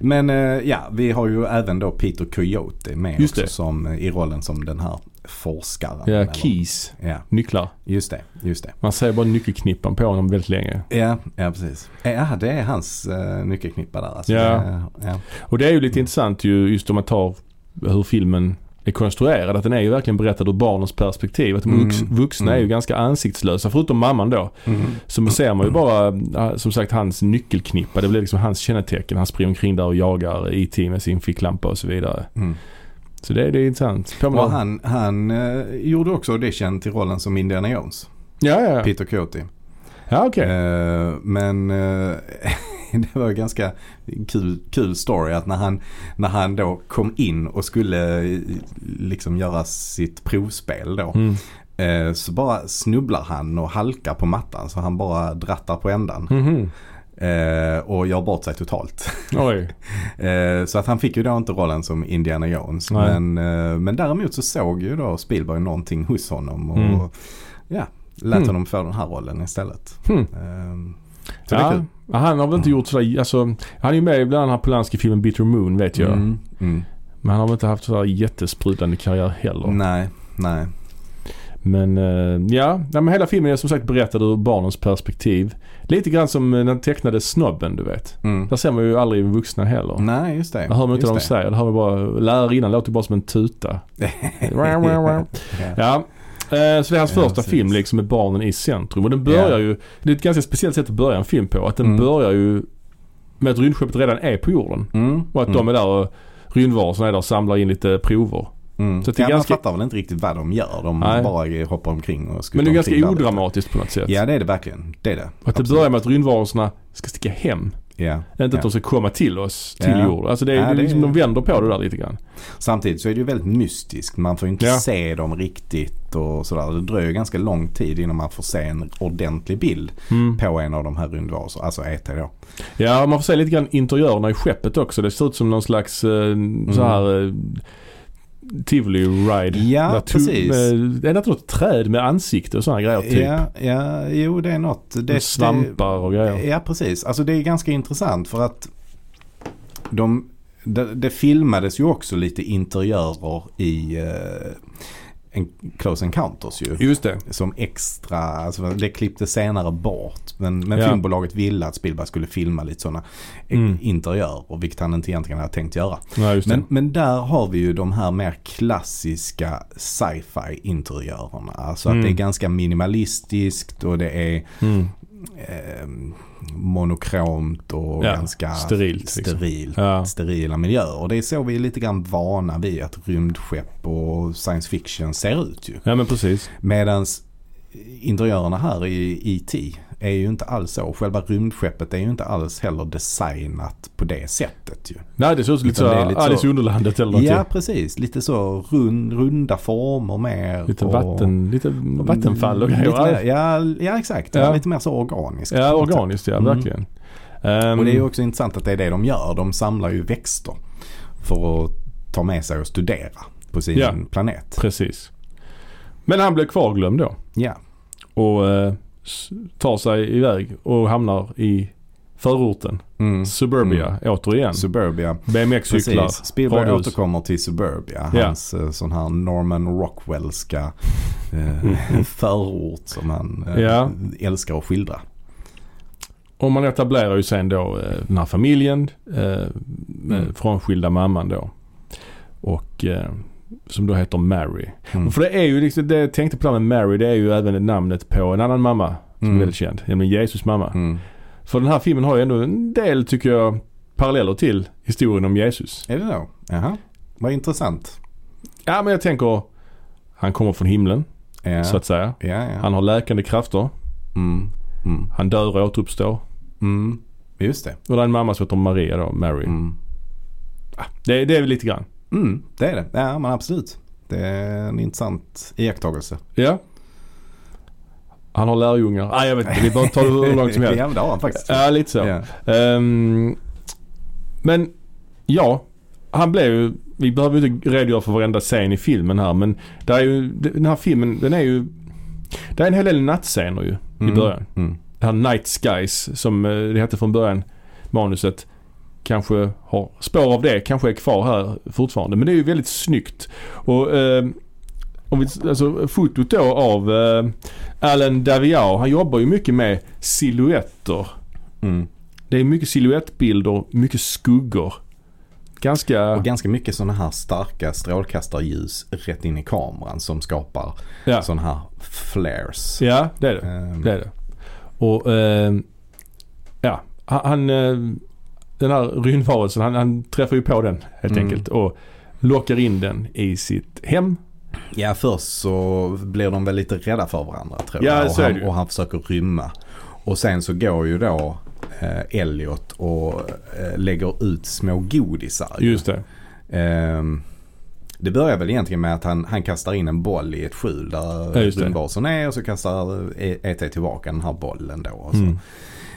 Men eh, ja, vi har ju även då Peter Coyote med Just också det. som, eh, i rollen som den här forskaren. Ja, eller- keys. Ja, Nycklar. just det, just det. Man säger bara nyckelknippan på honom väldigt länge. Ja, ja precis. Ja, det är hans eh, nyckelknippa där. Alltså, Ja. Det- ja. Och det är ju lite intressant ju just om man tar hur filmen är konstruerad. Att den är ju verkligen berättad ur barnens perspektiv. Att de Mm. vux- vuxna är ju Mm. ganska ansiktslösa. Förutom mamman då. Så ser man ju bara äh, som sagt hans nyckelknippa. Det blir liksom hans kännetecken. Han springer omkring där och jagar IT med sin ficklampa och så vidare. Mm. Så det, det är intressant. Och Påminner om- han, han eh, gjorde också audition till rollen som Indiana Jones, Ja, ja, ja. Peter Coyote. Ja, okej. Eh, men eh, <laughs> det var ju ganska kul, kul story att när han, när han då kom in och skulle eh, liksom göra sitt provspel då. Mm. eh, Så bara snubblar han och halkar på mattan så han bara drattar på ändan. Mhm. Eh, och gör bort sig totalt. <laughs> Oj. Eh, så att han fick ju då inte rollen som Indiana Jones. Nej. Men, eh, men däremot så såg ju då Spielberg någonting hos honom och Mm. ja, lät Mm. honom få den här rollen istället. Hmm. Eh, så det är Ja, kul. han har väl inte gjort sådär, alltså, han är ju med i bland annat Polanski-filmen Bitter Moon vet jag. Mm, mm. Men han har väl inte haft sådär jättesprudlande karriär heller. Nej, nej. Men eh, ja, ja men hela filmen är som sagt berättad ur barnens perspektiv. Lite grann som eh, den tecknade Snobben du vet. Mm. Där ser man ju aldrig vuxna heller. Nej, just det. Där hör man inte just vad de säger. Där hör man bara, lärarinnan låter bara som en <laughs> tuta. det. ja. Ja. eh, Så det är hans Ja, första precis. film liksom med barnen i centrum. Och den börjar Ja. ju, det är ett ganska speciellt sätt att börja en film på. Att den Mm. börjar ju med att rymdskeppet redan är på jorden. Mm. Och att de är där och rymdvarelserna är där och samlar in lite prover. Mm. Så att det är ja, ganska- Man fattar väl inte riktigt vad de gör. De Nej. bara hoppar omkring och skuttar Men det är omkring ganska där lite. odramatiskt på något sätt. Ja, det är det verkligen. Det är det. Och att det Absolut. börjar med att rymdvarelserna ska sticka hem. Ja. Inte att ja. de ska komma till oss, till Ja. jorden. Alltså det är, Ja, det är det är- liksom, de vänder på det där lite grann. Samtidigt så är det ju väldigt mystiskt. Man får ju inte Ja. se dem riktigt och sådär. Det dröjer ganska lång tid innan man får se en ordentlig bild på en av de här rymdvarelserna. Alltså ET då. Ja, man får se lite grann interiörerna i skeppet också. Det ser ut som någon slags eh, Mm. så här eh, Tivoli ride. Ja, Där tu- precis. Med, är det inte något träd med ansikte och sådana grejer typ? Ja, ja, jo det är något. Det, Och svampar och grejer. Ja, precis. Alltså det är ganska intressant för att de, det, det filmades ju också lite interiörer i eh, en Close Encounters ju. Just det. Som extra, alltså det klipptes senare bort. Men, men Ja. filmbolaget ville att Spielberg skulle filma lite sådana Mm. interiörer. Vilket han inte egentligen hade tänkt göra. Ja, just Men, det. men där har vi ju de här mer klassiska sci-fi interiörerna. Alltså Mm. att det är ganska minimalistiskt och det är Mm. eh, monokromt och Ja, ganska sterilt, liksom. sterilt Ja. sterila miljöer. Och det är så vi är lite grann vana vid att rymdskepp och science fiction ser ut ju. ja, men precis. Medan interiörerna här i E.T. är ju inte alls så. Själva rymdskeppet är ju inte alls heller designat på det sättet ju. Nej, det ser ut lite Utan så det är här lite Alice så- i Underlandet eller typ. någonting. Ja precis, lite så rund, runda former mer. Lite och- vatten, lite vattenfall och Lite mer, grejer. ja, ja exakt, Ja. lite mer så organiskt. Ja, organiskt ja, verkligen. Ehm, Och det är ju också intressant att det är det de gör. De samlar ju växter för att ta med sig och studera på sin Ja. planet. Precis. Men han blev kvarglömd då. Ja. och eh, s- tar sig iväg och hamnar i förorten. Mm. Suburbia återigen. Suburbia. BMX-cyklar. Precis. Spielberg radhus. återkommer till Suburbia. Ja. Hans eh, sån här Norman Rockwellska eh, <laughs> förort som han eh, Mm. Ja. älskar att skildra. Och man etablerar ju sen då eh, den här familjen. Eh, mm. Frånskilda mamman då. Och eh, som då heter Mary. Mm. För det är ju liksom, det jag tänkte på det här med Mary, det är ju även namnet på en annan mamma. Som Mm. är väldigt känd, nämligen Jesus mamma. Mm. För den här filmen har ju ändå en del, tycker jag, paralleller till historien om Jesus. Är det då? Jaha. Vad intressant. Ja men jag tänker, han kommer från himlen, Ja. så att säga. Eh, ja, ja. Han har läkande krafter. Mm. Mm. Han dör och återuppstår. Mm. Just det. Och det är en mamma som heter Maria då, Mary. Ah, Mm. Det, det är väl lite grann. Mm. Det är det. Ja men absolut. Det är en intressant iakttagelse. Ja. Han har lärjungar. Nej, Ah, jag vet inte. Vi behöver inte ta det hur långt som helst. ja, men <laughs> det har han faktiskt. Ja, lite så. Ja. Ehm, men ja, han blev ju, vi behöver ju inte redogöra för varenda scen i filmen här men där är ju, den här filmen den är ju, det är en hel del nattscener ju i Mm. början. Mm. Det här Night Skies som eh, det hette från början, manuset. Kanske har, spår av det kanske är kvar här fortfarande. Men det är ju väldigt snyggt. Och eh, om vi, alltså fotot då av eh, Alan Daviau, han jobbar ju mycket med silhuetter. Mm. Det är mycket silhuettbilder, mycket skuggor. Ganska... Och ganska mycket sådana här starka strålkastarljus rätt in i kameran som skapar Ja. sådana här flares. ja, det är det. Ehm, Det är det. Och eh, ja, han- han... eh, Den här rymdvarelsen, han, han träffar ju på den helt Mm. enkelt och lockar in den i sitt hem. Ja, först så blir de väl lite rädda för varandra tror Ja, jag. så Och är han, det ju. och han försöker rymma. Och sen så går ju då eh, Elliot och eh, lägger ut små godisar. ju. Just det. Ehm, det börjar väl egentligen med att han, han kastar in en boll i ett skjul där Ja, just det. rymdbasen är och så kastar E- ET tillbaka den här bollen då. Och så. Mm.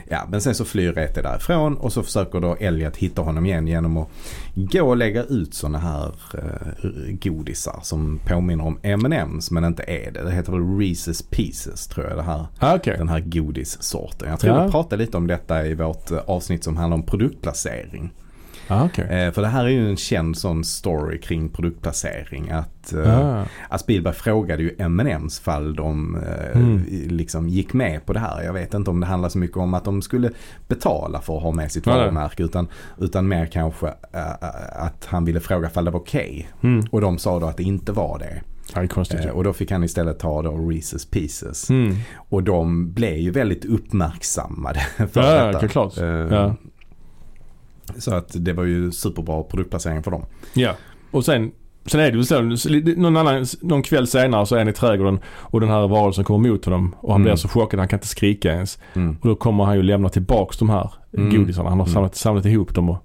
Ja, men sen så flyr ET därifrån och så försöker då Elliot hitta honom igen genom att gå och lägga ut sådana här eh, godisar som påminner om M&M's men inte är det. Det heter väl Reese's Pieces tror jag det här. Ah, Okej. Den här godissorten. Jag tror Ja. vi pratade lite om detta i vårt eh, avsnitt som handlar om produktplacering. Ah, okej. Eh, För det här är ju en känd sån story kring produktplacering. Att, eh, Ah. att Spielberg frågade ju M&M's fall de eh, Mm. i- liksom gick med på det här. Jag vet inte om det handlar så mycket om att de skulle betala för att ha med sitt Nej, nej. varumärke. Utan, utan mer kanske eh, att han ville fråga ifall det var okej. Mm. Och de sa då att det inte var det. Ja, det är konstigt. Eh, ju. och då fick han istället ta då Reese's Pieces. Mm. Och de blev ju väldigt uppmärksammade <laughs> för Ja, detta. ja, klart. Eh, Ja. Så att det var ju superbra produktplacering för dem. Ja, och sen, sen är det ju så. så li- Någon, annan, någon kväll senare så är han i trädgården och den här varelsen kommer mot honom. Och han Mm. blir så chockad han kan inte skrika ens. Mm. Och då kommer han ju lämna tillbaks de här Mm. godisarna. Han har Mm. samlat, samlat ihop dem och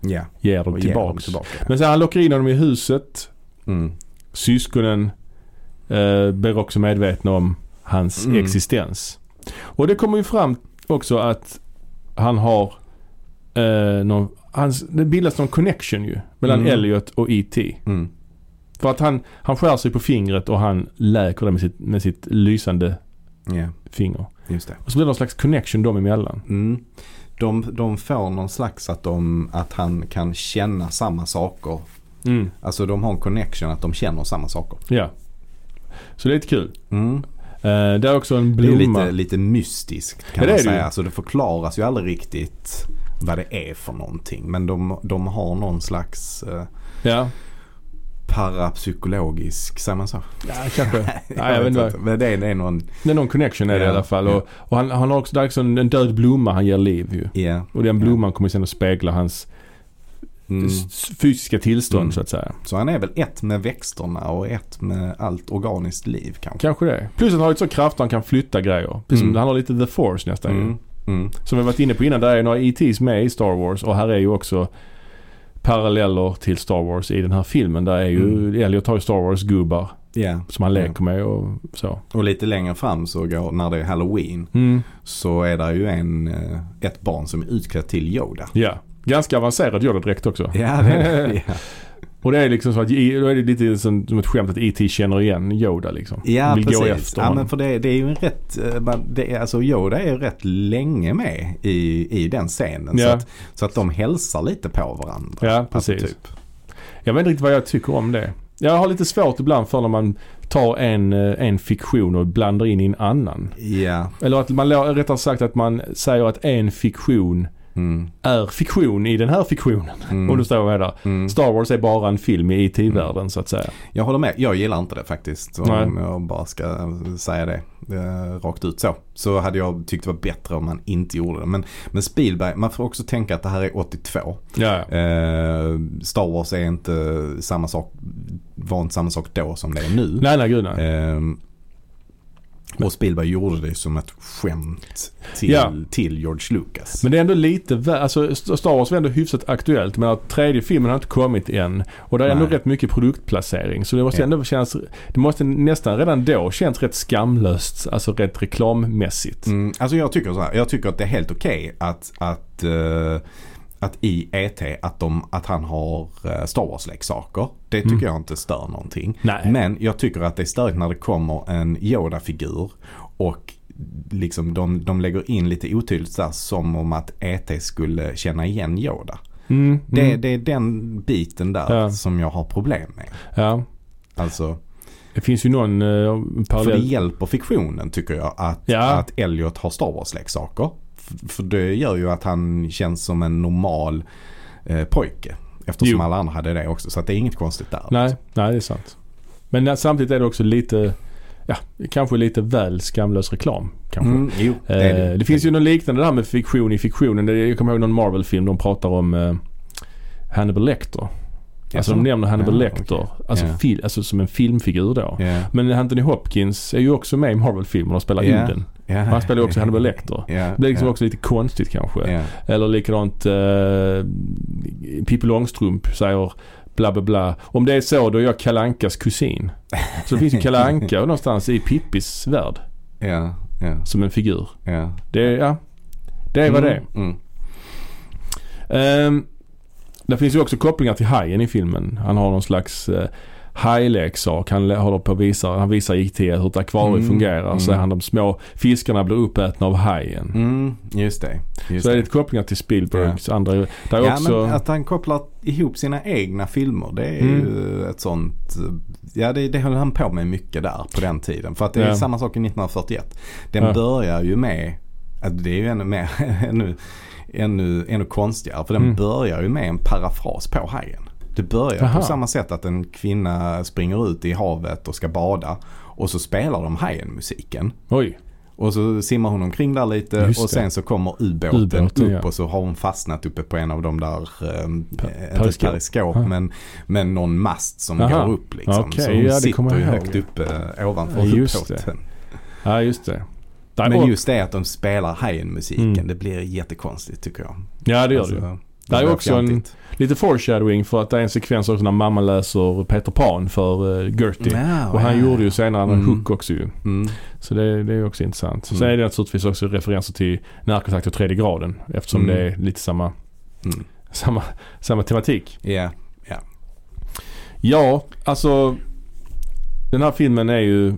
Ja, ger dem och ger dem tillbaks. tillbaka. Men sen han lockar in dem i huset. Mm. Syskonen eh, blir också medvetna om hans Mm. existens. Och det kommer ju fram också att han har eh, någon, hans, det bildas någon connection ju mellan Mm. Elliot och E.T. Mm. För att han, han skär sig på fingret och han läker det med sitt, med sitt lysande Ja, finger. just det. Och så blir det någon slags connection dem emellan. Mm. De, de får någon slags att, de, att han kan känna samma saker. Mm. Alltså de har en connection att de känner samma saker. Ja. Så det är lite kul. Mm. Eh, det är också en Det är blomma. lite, lite mystiskt Ja, kan det man är det ju. säga. Alltså det förklaras ju aldrig riktigt vad det är för någonting. Men de, de har någon slags eh, Ja. parapsykologisk, säger man så? ja, kanske. Nej, jag vet inte. vad- Men det är, det är någon, Det är någon connection är det i Ja, alla fall. ja. Och, och han, han har också, det är också en, en död blomma han ger liv ju. ja. Och den blomman kommer sen att spegla hans Mm. s- fysiska tillstånd Mm. så att säga. Så han är väl ett med växterna och ett med allt organiskt liv kanske. Kanske det. Plus att han har ett så kraft han kan flytta grejer. Precis som Mm. han har lite the force nästan ju. Mm. Mm. Som vi varit inne på innan, där är några ETs med i Star Wars och här är ju också paralleller till Star Wars i den här filmen. Där är ju, Elliot har ju Star Wars-gubbar Mm. Ja. som han leker med och så. Och lite längre fram så går, när det är halloween Mm. så är det ju en, eh, ett barn som är utklädd <laughs> till Yoda. Ja. Ganska avancerad Yoda-dräkt också. Ja, det <laughs> är det. Ja. Och det är liksom så att, då är det lite som, som ett skämt att E.T. känner igen Yoda liksom. <laughs> Ja, Vill precis. gå efter ja, honom. men för det, det är ju en rätt, eh, man- det är, alltså Yoda är ju rätt länge med i, i den scenen. Så, Ja. att, så att de hälsar lite på varandra. Ja, Alltså, precis. Jag vet inte riktigt vad jag tycker om det. Jag har lite svårt ibland för när man tar en, eh, en fiktion och blandar in i en annan. Ja. Eller att man, lå- rättare sagt att man säger att en fiktion Mm. är fiktion i den här fiktionen. <laughs> Mm. Om du står med där. Mm. Star Wars är bara en film i IT-världen så att säga. Jag håller med. Jag gillar inte det faktiskt. Om Nej. jag bara ska säga det eh, rakt ut så. Så hade jag tyckt det var bättre om man inte gjorde det. Men, men Spielberg, man får också tänka att det här är 82. Ja, ja. Eh, Star Wars är inte samma sak, var inte samma sak då som det är nu. Nej, nej, gud nej. Eh, Och Spielberg gjorde det som ett skämt till, Ja. till George Lucas. Men det är ändå lite vä- alltså Star Wars var ändå hyfsat aktuellt men att tredje filmen har inte kommit än. Och det är ändå Nej. rätt mycket produktplacering. Så det måste Ja. ändå kännas, det måste nästan redan då känns rätt skamlöst, alltså rätt reklammässigt. Mm, alltså jag tycker så här, jag tycker att det är helt okej att, att, eh, att i ET att, de, att han har eh, Star Wars-leksaker. Det tycker jag inte stör någonting. Mm. Nej. Men jag tycker att det är störigt när det kommer en Yoda-figur och liksom de, de lägger in lite otydligt där som om att ET skulle känna igen Yoda. Mm, Det, mm, det är den biten där Ja. som jag har problem med. ja. Alltså, Det finns ju någon eh, för det parallell. hjälper fiktionen tycker jag att, Ja. att Elliot har Star Wars-leksaker. F- För det gör ju att han känns som en normal eh, pojke. Eftersom Jo. alla andra hade det också. Så att det är inget konstigt där. Nej, nej det är sant. Men när- samtidigt är det också lite, ja, kanske lite väl skamlös reklam. Kanske. Mm, jo, det, Eh, är det, finns ju något liknande där med fiktion i fiktionen. Det är- Jag kommer ihåg någon Marvel-film de pratar om eh, Hannibal Lecter. Alltså Jaså? de nämner Hannibal Ja, Lecter alltså, Ja. fil, alltså som en filmfigur då. Ja. Men Anthony Hopkins är ju också med i Marvel-filmerna och spelar Ja. Uden. Ja. Han spelar ju också Hannibal Lecter. Ja, Det blir liksom ja. också lite konstigt kanske. Ja. Eller likadant eh, Pippi Långstrump säger bla bla bla. Om det är så då är jag Kalankas kusin. Så det finns ju <laughs> Kalanka någonstans i Pippis värld Ja, ja, som en figur. ja. Det, är- ja, det är vad det är. Mm, mm. Ehm, det finns ju också kopplingar till hajen i filmen. Han har någon slags eh, hajleksak. Han lä- håller på att visa, han visar IT hur ett akvarium Mm, fungerar. Så mm. han de små fiskarna blir uppätna av hajen. Mm, just det. Just så det är det. lite kopplingar till Spielbergs andra. Där är Ja också, men att han kopplar ihop sina egna filmer det är Mm. ju ett sånt. Ja det, det höll han på med mycket där på den tiden. För att det är Ja. samma sak i 1941. Den Ja. börjar ju med, att det är ju ännu mer, <laughs> ännu, ännu, ännu konstigare. För den Mm. börjar ju med en parafras på hajen. Det börjar Aha. på samma sätt att en kvinna springer ut i havet och ska bada. Och så spelar de hajen musiken. oj, Och så simmar hon omkring där lite Just och det. sen så kommer ubåten, Ubåten, upp ja. och så har hon fastnat uppe på en av de där, eh, inte periskop. periskop, Ja. men, men någon mast som Aha. går upp liksom. Okej, så hon ja, det kommer sitter ju jag ihåg, högt ja. uppe eh, ovanför Ja, just ubåten. ja just det. Där, Men och- just det att de spelar hajen-musiken, Mm. det blir jättekonstigt tycker jag. ja det gör Alltså- det ju. Där är blir också en- fjantigt. Lite foreshadowing för att det är en sekvens också när mamma läser Peter Pan för uh, Gertie. Ja, Och han ja. gjorde ju senare en Mm. hook också ju. Mm. Så det, det är också intressant. Mm. Sen är det naturligtvis också referenser till närkontakt och tredje graden eftersom Mm. det är lite samma, Mm. samma, samma tematik. Ja. Ja, alltså den här filmen är ju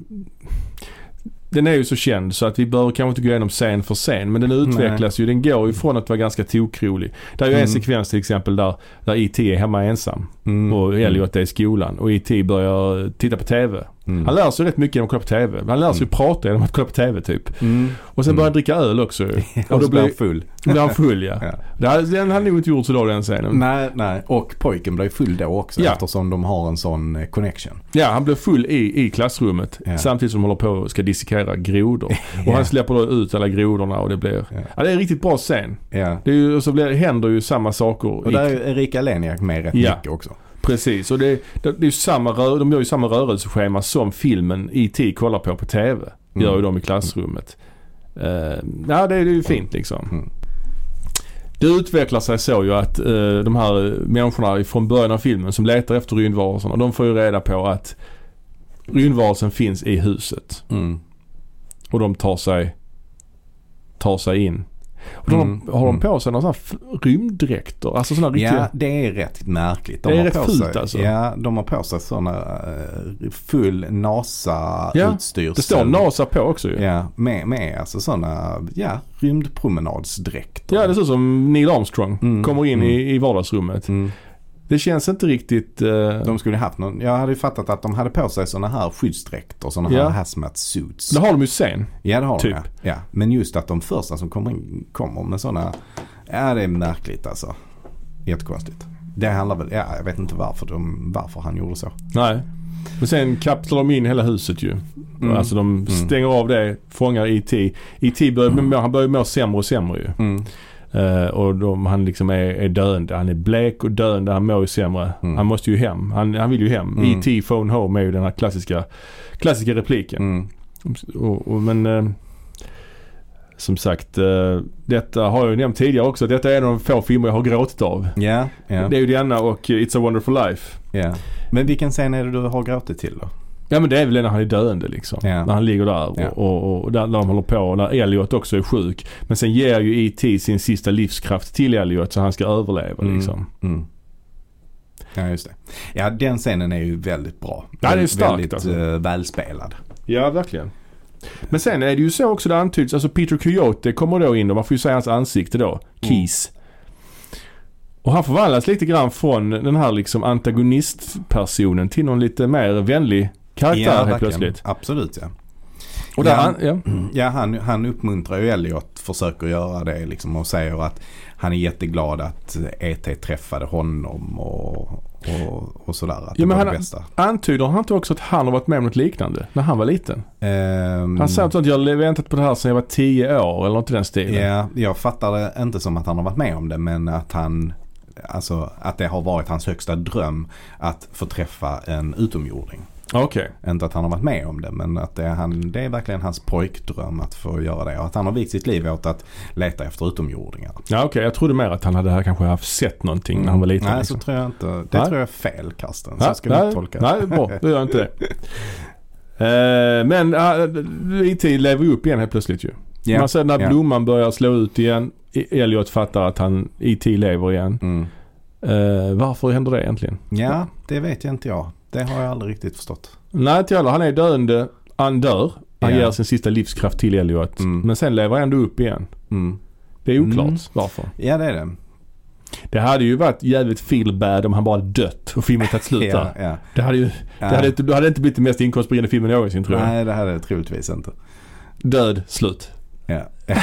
den är ju så känd så att vi behöver kanske inte gå igenom scen för scen. Men den utvecklas ju. Den går ju från att vara ganska tokrolig. Det är ju en Mm. sekvens till exempel där, där E.T. är hemma ensam. Mm. Och Elliot är i skolan och E.T. börjar titta på TV. Mm. Han lär sig rätt mycket genom att kolla på TV. Han lär sig Mm. mm. prata genom att kolla på TV typ. <laughs> Mm. Och sen börjar han dricka öl också <laughs> ju. Och Och så då blir han blir, full. blir han full ja. <laughs> Ja. Det här, den hade nog inte gjort så då den scenen. Nej, nej. Och pojken blir full då också Ja. eftersom de har en sån eh, connection. Ja, han blev full i, i klassrummet Ja. samtidigt som de håller på och ska dissekera <laughs> grodor. Och han släpper då ut alla grodorna och det blir... Ja. Ja, det är en riktigt bra scen. Ja. Det är ju, och så blir, händer ju samma saker. Och i- där är ju Erika Leniak med rätt Ja. mycket också. Precis, och det, det, det är ju samma rö- de gör ju samma rörelseschema som filmen E.T. kollar på på TV. Mm. Gör ju de i klassrummet. Eh, ja, det, är- det är ju fint liksom. Mm. Det utvecklar sig så ju att eh, de här människorna från början av filmen som letar efter rymdvarelserna, de får ju reda på att rymdvarelsen finns i huset. Mm. Och de tar sig, tar sig in. Och de, Mm, Har de mm. på sig några sådana rymddräkter? Alltså sådana riktiga... Ja, det är rätt märkligt. Det är har rätt på fult sig, alltså. Ja, de har på sig sådana eh, full Ja, NASA-utstyrsel. Det står NASA på också ju. Ja, med, med alltså sådana ja, rymdpromenadsdräkter. Ja, det ser ut som Neil Armstrong. Mm, Kommer in mm. i, i vardagsrummet. Mm. Det känns inte riktigt... eh, De skulle haft någon, jag hade ju fattat att de hade på sig sådana här skyddsdräkter, sådana Ja. här hazmat suits. det har de ju sen. Ja det har Typ. de ja. ja. Men just att de första som kommer in kommer med sådana. Ja det är märkligt alltså. Jättekonstigt. Det handlar väl, ja jag vet inte varför, de, varför han gjorde så. Nej. Men sen kapslar de in hela huset ju. Mm. Alltså de stänger av det, fångar E IT. IT börjar, må- han börjar må sämre och sämre ju. Mm. Eh, och de, han liksom är, är döende. Han är blek och döende. Han mår ju sämre. Mm. Han måste ju hem. E Han, han vill ju hem. Mm. E.T. Phone Home är ju den här klassiska, klassiska repliken. Mm. Och, och, men eh, som sagt, eh, detta har jag ju nämnt tidigare också. att Detta är en av de få filmer jag har gråtit av. Ja, ja, Det är ju denna och eh, It's a wonderful life. ja. Men vilken scen är det du har gråtit till då? Ja men det är väl när han är döende liksom. Ja. När han ligger där och, Ja. och, och, där, när de håller på. Och när Elliot också är sjuk. Men sen ger ju E.T. sin sista livskraft till Elliot så han ska överleva Mm. liksom. Mm. Ja, just det. Ja, den scenen är ju väldigt bra. Ja, det är starkt, Väldigt alltså. eh, välspelad. Ja, verkligen. Men sen är det ju så också det antyds, alltså Peter Coyote kommer då in och man får ju säga hans ansikte då, Keys. Och han förvandlas lite grann från den här liksom antagonistpersonen till någon lite mer vänlig karaktär helt verkligen. plötsligt. Absolut ja. Och där, Ja. han, ja. Ja, han, han uppmuntrar ju Elliot, försöker göra det liksom och säger att han är jätteglad att ET träffade honom och, och, och sådär. Att det Ja, men var han- det bästa. Antyder han inte också att han har varit med om något liknande när han var liten? Ehm, Han säger att jag har väntat på det här sedan jag var 10 år eller något i den stilen. Ja, jag fattar det inte som att han har varit med om det men att han Alltså att det har varit hans högsta dröm att få träffa en utomjording. Okej. Inte att han har varit med om det men att det är, han, det är verkligen hans pojkdröm att få göra det. Och att han har vikt sitt liv åt att leta efter utomjordingar. Ja, okej. Jag trodde mer att han hade kanske haft sett någonting när han var liten. Mm. Nej, liksom. så tror jag inte. Det Nej. tror jag är fel Karsten. Ja, Så ska vi nej, inte tolka Nej, bra. Då gör jag inte det. <laughs> Eh, men uh, IT lever ju upp igen helt plötsligt ju. Ja, Man ser när ja. blomman börjar slå ut igen. I- Elliot fattar att han IT lever igen. Mm. Eh, varför händer det egentligen? Ja, det vet jag inte jag. Det har jag aldrig riktigt förstått. Nej, inte jag heller. Han är döende. Han dör. Han Ja. ger sin sista livskraft till Elliot. Mm. Men sen lever han ändå upp igen. Mm. Det är oklart Mm. varför. Ja, det är det. Det hade ju varit jävligt feel bad om han bara dött och filmen tagit <laughs> slut Ja, där. ja. Det hade ju det Ja. hade inte, det hade inte blivit den mest inkomstbringande filmen någonsin tror jag. Nej, det hade det troligtvis inte. Död, slut. Ja, <laughs> ja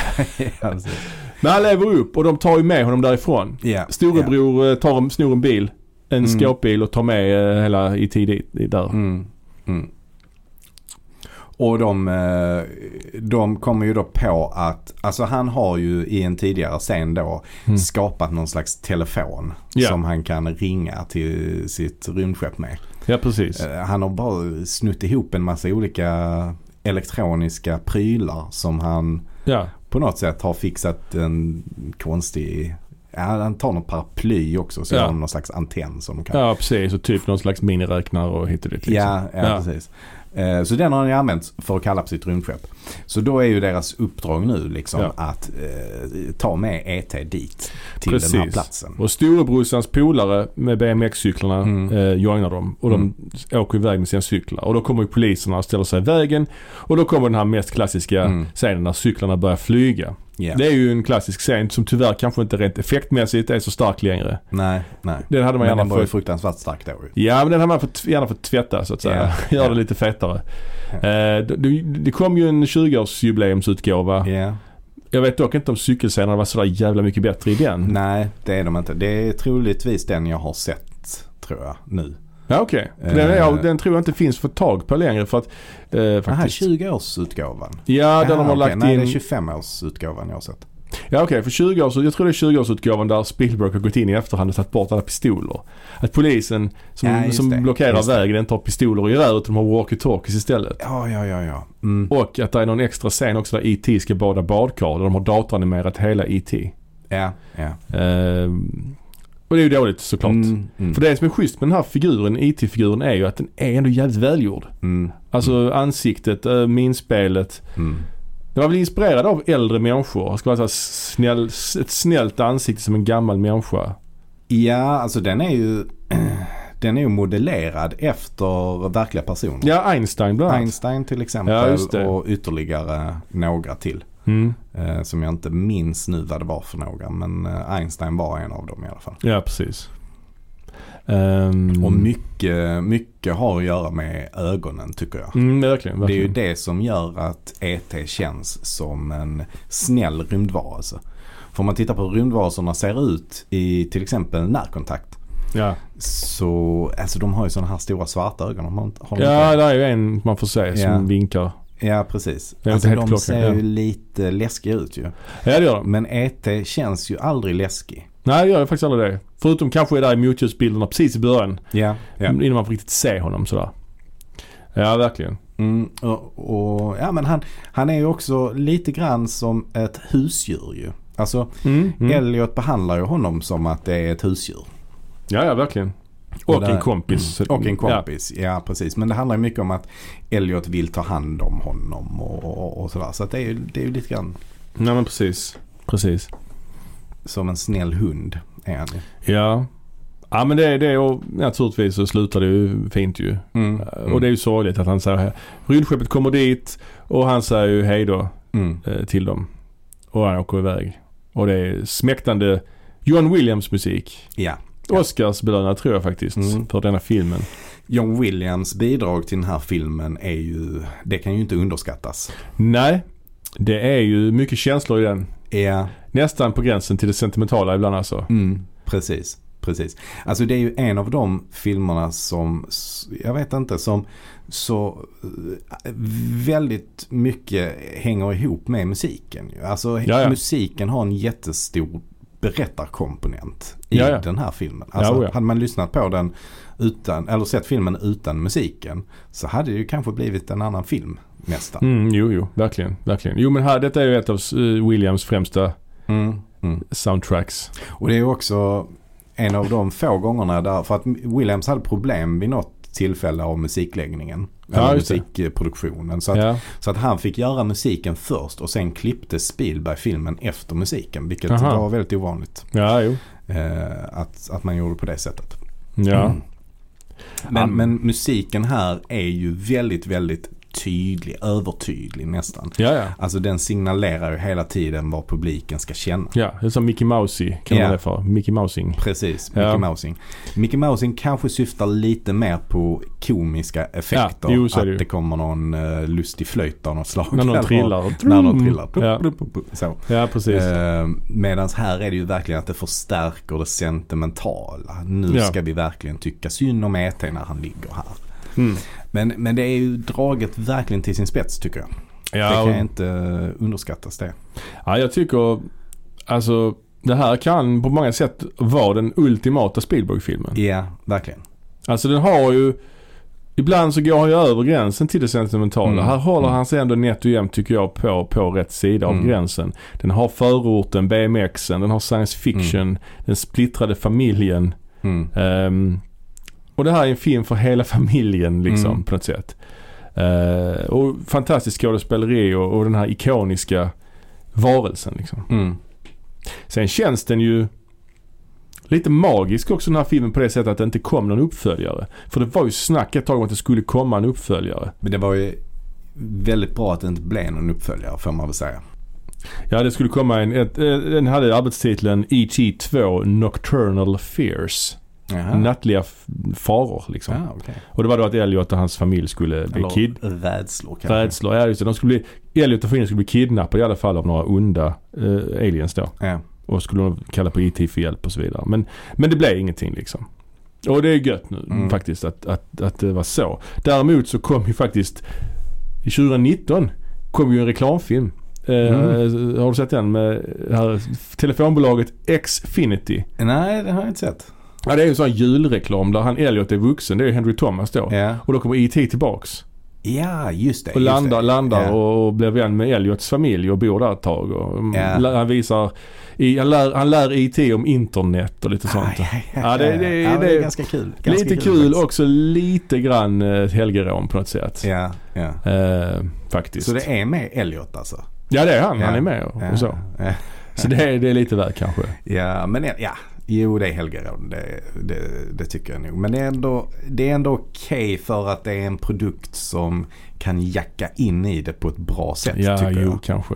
precis. Men han lever upp och de tar ju med honom därifrån. Ja, Storebror eh, tar, en- snor en bil, en skåpbil och tar med eh, hela IT dit, där. Mm. Mm. Och de, eh, de kommer ju då på att, alltså han har ju i en tidigare scen då skapat någon slags telefon Mm. Ja. som han kan ringa till sitt rymdskepp med. Ja, precis. Eh, Han har bara snutt ihop en massa olika elektroniska prylar som han Ja. på något sätt har fixat en konstig, ja, han tar någon paraply också så Ja. gör han någon slags antenn som kan ja, precis. Och typ någon slags miniräknare och hit och dit. Liksom. Ja, ja, Ja. precis. Eh, Så den har han ju använt för att kalla på sitt rymdskepp. Så då är ju deras uppdrag nu liksom Ja. att eh, ta med ET dit. Till den här platsen. Mm. Och storebrorsans polare med BMX-cyklarna eh, joinar dem. Och de åker iväg med sina cyklar. Och då kommer ju poliserna och ställer sig i vägen. Och då kommer den här mest klassiska scenen när cyklarna börjar flyga. Mm. Ja. Det är ju en klassisk scen som tyvärr kanske inte rent effektmässigt är så stark längre. Nej, nej. Den hade man Men den gärna var ju fått fruktansvärt stark då ju. Ja, men den hade man fått, gärna fått tvätta så att säga. Ja, <laughs> Gör ja. det lite fetare. Eh, det- det, det kom ju en 20-årsjubileumsutgåva. Ja. Jag vet dock inte om cykelscenerna var sådär jävla mycket bättre i den. Nej, det är de inte. Det är troligtvis den jag har sett, tror jag, nu. Ja, okej. För Eh. Den, är jag- den tror jag inte finns för tag på längre för att... Eh, Aha, faktiskt. 20-årsutgåvan. ja, den har man okej. lagt Nej, in... det är 25-årsutgåvan jag har sett. Ja, okej. för 20 års, jag tror det är 20-årsutgåvan där Spielberg har gått in i efterhand och tagit bort alla pistoler. Att polisen som, Ja, just som det. blockerar Just det. vägen inte har pistoler och gevär utan de har walkie-talkies istället. Ja, ja, ja, ja. Mm. Och att det är någon extra scen också där E.T. ska bada badkar. Där de har datoranimerat hela E E.T. Ja, ja. Ehm, och det är ju dåligt såklart. Mm, mm. För det som är schysst med den här figuren, E.T.-figuren, är ju att den är ändå jävligt välgjord. Mm, Alltså ansiktet, äh, minspelet. mm. Den var väl inspirerad av äldre människor. Det ska vara så här snäll, ett snällt ansikte som en gammal människa. Ja, alltså den är ju <clears throat> den är ju modellerad efter verkliga personer. Ja, Einstein bland annat. Einstein till exempel Ja, just det. och ytterligare några till. Mm. Eh, som jag inte minns nu vad det var för några men eh, Einstein var en av dem i alla fall. Ja, precis. Ehm, Och mycket, mycket har att göra med ögonen tycker jag. Mm, verkligen, verkligen. Det är ju det som gör att ET känns som en snäll rymdvarelse. För om man tittar på hur rymdvarelserna ser ut i till exempel närkontakt. Ja, Så, alltså de har ju sådana här stora svarta ögon. Har de inte- har de inte ja där är ju en man får se som Ja. vinkar. Ja, precis. Det är Alltså, inte helt de klockrent, ser ja. ju lite läskiga ut ju. Ja, det gör de. Men ET känns ju aldrig läskig. Nej, det gör jag faktiskt aldrig det. Förutom kanske där i motljusbilderna precis i början. Ja, ja. Innan man får riktigt se honom sådär. Mm. Ja, verkligen. Mm, och, och, ja, men han, han är ju också lite grann som ett husdjur ju. Alltså Mm, mm. Elliot behandlar ju honom som att det är ett husdjur. Ja, ja, verkligen. Och Och, där- Mm. en kompis. Mm. Och en kompis. Ja. precis. Men det handlar ju mycket om att Elliot vill ta hand om honom och, och, och sådär. Så att det är ju det är ju lite grann Ja. Nej, men precis. Precis. som en snäll hund. Är han ju. Ja. Ja men det är det och naturligtvis så slutar det ju fint ju. Eh, Mm. Och det är ju sorgligt att han säger Rymdskeppet kommer dit och han säger ju hej då Mm. eh, till dem. Och han åker iväg. Och det är smäktande John Williams musik. Ja. Oscars belönad tror jag faktiskt Mm. för denna filmen. John Williams bidrag till den här filmen är ju, det kan ju inte underskattas. Nej, det är ju mycket känslor i den. Ja, Nästan på gränsen till det sentimentala ibland alltså. mm, precis. Precis. Alltså det är ju en av de filmerna som, s- jag vet inte, som så eh, väldigt mycket hänger ihop med musiken. ju. Alltså Ja, ja. musiken har en jättestor berättarkomponent i Ja, ja. den här filmen. Alltså Ja, oh ja. hade man lyssnat på den utan, eller sett filmen utan musiken så hade det ju kanske blivit en annan film nästan. Mm, jo, jo, verkligen, verkligen. Jo men här, detta är ju ett av eh, Williams främsta Mm, mm. soundtracks. Och det är också en av de få gångerna där, för att Williams hade problem vid något tillfälle av musikläggningen. Ja, eller just det. musikproduktionen. Så att, Ja. så att han fick göra musiken först och sen klippte Spielberg filmen efter musiken. Vilket Aha. var väldigt ovanligt ja, jo. eh, att, att man gjorde på det sättet. Ja. Mm. Men, Ja. men musiken här är ju väldigt, väldigt tydlig, övertydlig nästan. Ja, ja. Alltså den signalerar ju hela tiden vad publiken ska känna. Ja, det är som Mickey Mousey kan Ja. man det för. Mickey Mousing. Precis, Mickey Ja. Mousing. Mickey Mousing kanske syftar lite mer på komiska effekter. Ja, jo, så är det ju. att det kommer någon eh, lustig flöjt av något slag. När någon <laughs> eller- trillar. När någon trillar. Ja. Så. Ja, precis. Eh, Medan här är det ju verkligen att det förstärker det sentimentala. Nu Ja. ska vi verkligen tycka synd om E.T. när han ligger här. Mm. Men, men det är ju draget verkligen till sin spets tycker jag. det Ja, kan och, inte eh, underskattas det. ja, jag tycker alltså det här kan på många sätt vara den ultimata Spielberg-filmen. Ja, verkligen. Alltså den har ju Ibland så går han ju över gränsen till det sentimentala. Mm. Här håller Mm. han sig ändå nätt och jämnt tycker jag på, på rätt sida Mm. av gränsen. Den har förorten, BMXen, den har science fiction, den splittrade familjen. Mm. Ehm, och det här är en film för hela <laughs> familjen liksom Mm. på något sätt. Eh, och fantastiskt skådespeleri och, och den här ikoniska varelsen liksom. Mm. Sen känns den ju lite magisk också den här filmen på det sättet att det inte kom någon uppföljare. För det var ju snack ett tag om att det skulle komma en uppföljare. Men det var ju väldigt bra att det inte blev någon uppföljare får man väl säga. Ja det skulle komma en, ett, eh, den hade arbetstiteln E.T. 2 Nocturnal Fears. Nattliga f- faror liksom. Ah, okay. Och det var då att Elliot och hans familj skulle bli kid, rädslor kanske. Rädslor, ja just det. De skulle bli, Elliot och Finn skulle bli kidnappade i alla fall av några onda eh, aliens då. Ja. Och skulle de kalla på IT för hjälp och så vidare. Men, men det blev ingenting liksom. Och det är gött nu Mm. faktiskt att, att, att det var så. Däremot så kom ju faktiskt 2019 kom ju en reklamfilm. Eh, Mm. Har du sett den med det här, telefonbolaget Xfinity? Nej, det har jag inte sett. Ja det är ju en sån här julreklam där han Elliot är vuxen. Det är ju Henry Thomas då. Ja, Och då kommer IT tillbaks. ja just det. Och just landar, det. landar Ja. och, och blir vän med Elliots familj och bor där ett tag. Och, mm, Ja. lä- Han visar, i, han, lär, han lär IT om internet och lite sånt. Ah, ja, ja, Ja, det- ja, ja. det- ja, det- är ganska kul. Ganska lite kul faktiskt. också lite grann eh, helgerån på något sätt. Ja, ja. Eh, faktiskt. Så det är med Elliot alltså? Ja det är han, Ja. han är med och, Ja, och så. ja. Så det är, det är lite väl kanske. Ja, men ja. Jo, det är helgerån. Det, det, det tycker jag nog. Men det är ändå, det är ändå okej för att det är en produkt som kan jacka in i det på ett bra sätt. Ja, tycker jo jag. kanske.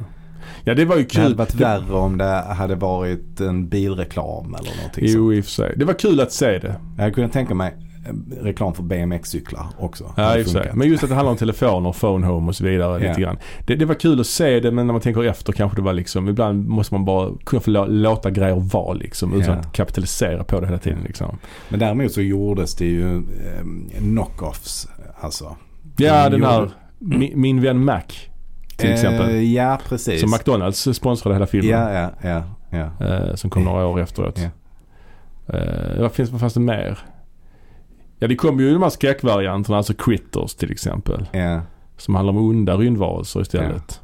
Ja det var ju Det hade kul. varit värre om det hade varit en bilreklam eller någonting sånt. Jo i och för sig. Det var kul att se det. Jag hade kunnat tänka mig eh, reklam för BMX-cyklar också. Ja, Hade i och för sig. funkat. Men just att det handlar om telefoner, phone home och så vidare. Ja. Lite grann. Det, det var kul att se det men när man tänker efter kanske det var liksom, ibland måste man bara kunna få lå- låta grejer vara liksom utan Ja. att kapitalisera på det hela tiden liksom. Men däremot så gjordes det ju eh, knock-offs. Alltså. Ja, Mm, den jo, här min, min vän Mac till exempel. Eh, ja, precis. Som McDonalds sponsrade hela filmen. ja, ja, ja, ja. Eh, som kom några år efteråt. Ja. Eh, vad, finns, vad fanns det mer? Ja det kom ju de här skräckvarianterna, alltså critters till exempel. Ja, Som handlar om onda rymdvarelser istället.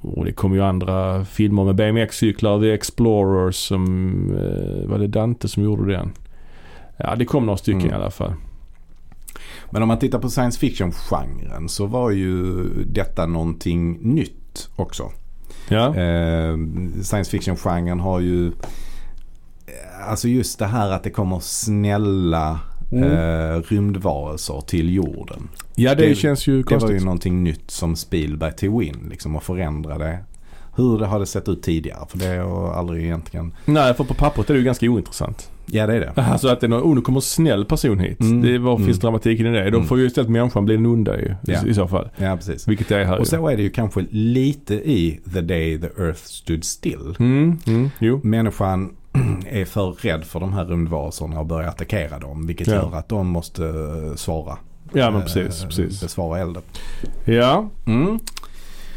Och det kom ju andra filmer med BMX-cyklar, The Explorers som... Eh, var det Dante som gjorde den? Ja det kom några stycken Mm. i alla fall. Men om man tittar på science fiction-genren så var ju detta någonting nytt också. Ja. Eh, science fiction-genren har ju eh, Alltså just det här att det kommer snälla eh, rymdvarelser till jorden. ja det, det- känns ju Det var ju konstigt. någonting nytt som Spielberg tog in liksom och förändrade hur det hade sett ut tidigare. För det har jag aldrig egentligen... Nej för på pappret är det ju ganska ointressant. Ja det är det. Alltså att det är någon, oh, nu kommer en snäll person hit. Mm. Det, var finns Mm. dramatiken i det? Då Mm. får ju istället människan bli en onda ju. Ja. I, I så fall. Ja precis. Vilket det är här Och ju. så är det ju kanske lite i The Day the Earth Stood Still. Mm, mm, jo. Människan <clears throat> är för rädd för de här rymdvarelserna och börjar attackera dem. Vilket Ja. gör att de måste eh, svara. Ja men precis, Eh, precis. Besvara elden. Ja. Mm.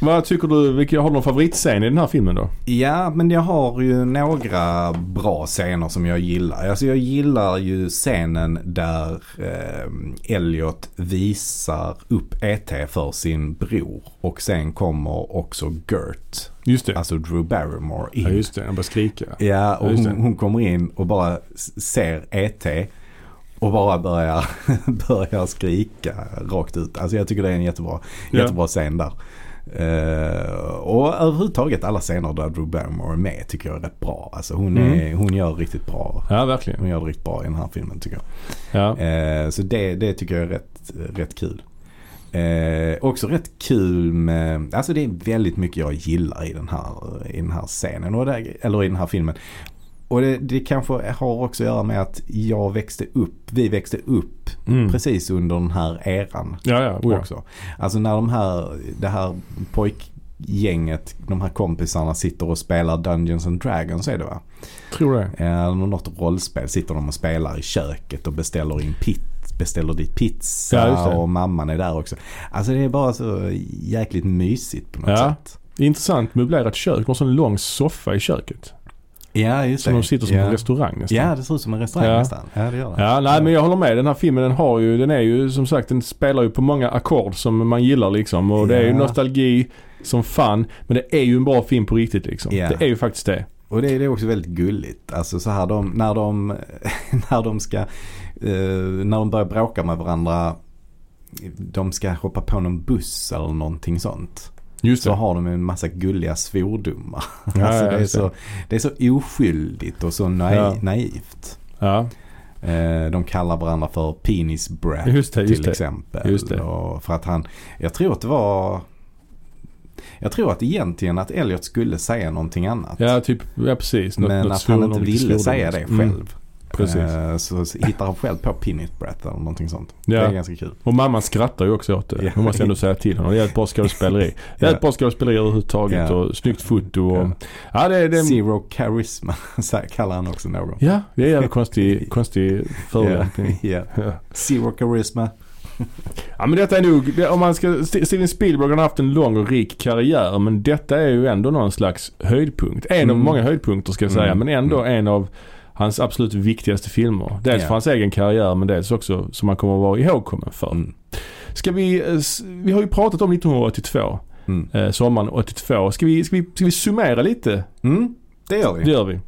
Vad tycker du, vilka, har du någon favoritscen i den här filmen då? Ja, men jag har ju några bra scener som jag gillar. Alltså jag gillar ju scenen där eh, Elliot visar upp ET för sin bror. Och sen kommer också Gert, Just det. alltså Drew Barrymore, in. Ja just det, han börjar skrika. Ja, och Ja, just hon, det. hon kommer in och bara s- ser ET och bara börjar, <laughs> börjar skrika rakt ut. Alltså jag tycker det är en jättebra, Ja. jättebra scen där. Eh, och överhuvudtaget alla scener där Drew Barrymore är med tycker jag är rätt bra. Alltså hon, Mm. är, hon gör riktigt bra. Ja verkligen. Hon gör det riktigt bra i den här filmen tycker jag. Ja. Eh, så det, det tycker jag är rätt, rätt kul. Eh, också rätt kul med, alltså det är väldigt mycket jag gillar i den här, i den här scenen, och det, eller i den här filmen. Och det, det kanske har också att göra med att jag växte upp, vi växte upp Mm. precis under den här eran Ja ja, oh, ja. också. Alltså när de här, det här pojkgänget, de här kompisarna sitter och spelar Dungeons and Dragons är det va? Tror det. Eh, något rollspel sitter de och spelar i köket och beställer in pit, beställer dit pizza Ja, just det. och mamman är där också. Alltså det är bara så jäkligt mysigt på något Ja. sätt. Intressant möblerat kök. De har en sån lång soffa i köket. Ja, just Som det. de sitter som ja. på en restaurang nästan. Ja, det ser ut som en restaurang Ja. nästan. Ja, det gör det. Ja, nej men jag håller med. Den här filmen den har ju, den är ju som sagt, den spelar ju på många ackord som man gillar liksom. Och det är ju Ja. nostalgi som fan. Men det är ju en bra film på riktigt liksom. Ja. Det är ju faktiskt det. Och det, det är också väldigt gulligt. Alltså så här de, när de, <laughs> när de ska, eh, när de börjar bråka med varandra. De ska hoppa på någon buss eller någonting sånt. Just så det. har de en massa gulliga svordomar. Ja, <laughs> alltså ja, det, är just så, det är så oskyldigt och så naiv, Ja. naivt. Ja. Eh, de kallar varandra för penis brat Just det, just till det. exempel. Just det. Och för att han, jag tror att det var jag tror att egentligen att Elliot skulle säga någonting annat. Ja, typ, ja precis. Något- men något att han svordom, inte lite ville svordom, säga det liksom. själv. Mm, precis. Eh, så hittar han själv på penis brat eller någonting sånt. Ja. Det är ganska kul. Och mamman skrattar ju också åt det. Ja. Hon måste ändå säga till honom. Det är ett bra <laughs> skådespeleri. Det är ett bra skådespeleri överhuvudtaget Ja. och snyggt foto och... Ja. Ja, det är... Det är Zero charisma <laughs> så här kallar han också någon. ja, det är en jävla konstig, konstig förolämpning. <laughs> Ja, ja. Ja. Zero charisma. Ja men detta är nog, det- om man ska, St- Steven Spielberg har haft en lång och rik karriär men detta är ju ändå någon slags höjdpunkt. En av Mm. många höjdpunkter ska jag säga Mm. men ändå en av hans absolut viktigaste filmer. Dels Ja. för hans egen karriär men dels också som han kommer att vara ihågkommen för. Mm. Ska vi, eh, s- vi har ju pratat om 1982, Mm. eh, sommaren 82. Ska vi, ska, vi, ska vi summera lite? Mm, det gör vi. Det gör vi.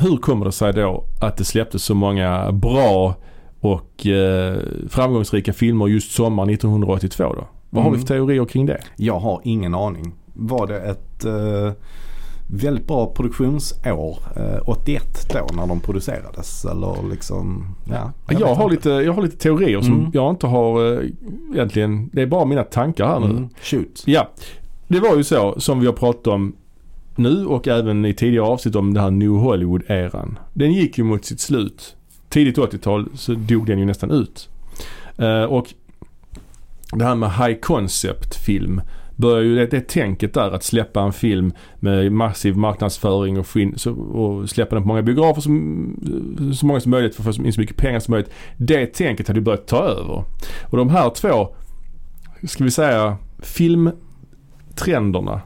Hur kommer det sig då att det släpptes så många bra och eh, framgångsrika filmer just sommaren 1982 då? Vad har vi Mm. för teorier kring det? Jag har ingen aning. Var det ett eh, väldigt bra produktionsår eh, 81 då när de producerades? Eller liksom, ja. Jag, vet har inte. lite, jag har lite teorier som Mm. jag inte har eh, egentligen. Det är bara mina tankar här nu. Mm. Shoot. Ja, det var ju så som vi har pratat om nu och även i tidigare avsnitt om den här New Hollywood-eran. Den gick ju mot sitt slut. Tidigt 80-tal så dog den ju nästan ut. Eh, och det här med high concept-film börjar ju det, det tänket där att släppa en film med massiv marknadsföring och, få in, så, och släppa den på många biografer som, så många som möjligt för att få in så mycket pengar som möjligt. Det tänket hade ju börjat ta över. Och de här två, ska vi säga, film trenderna,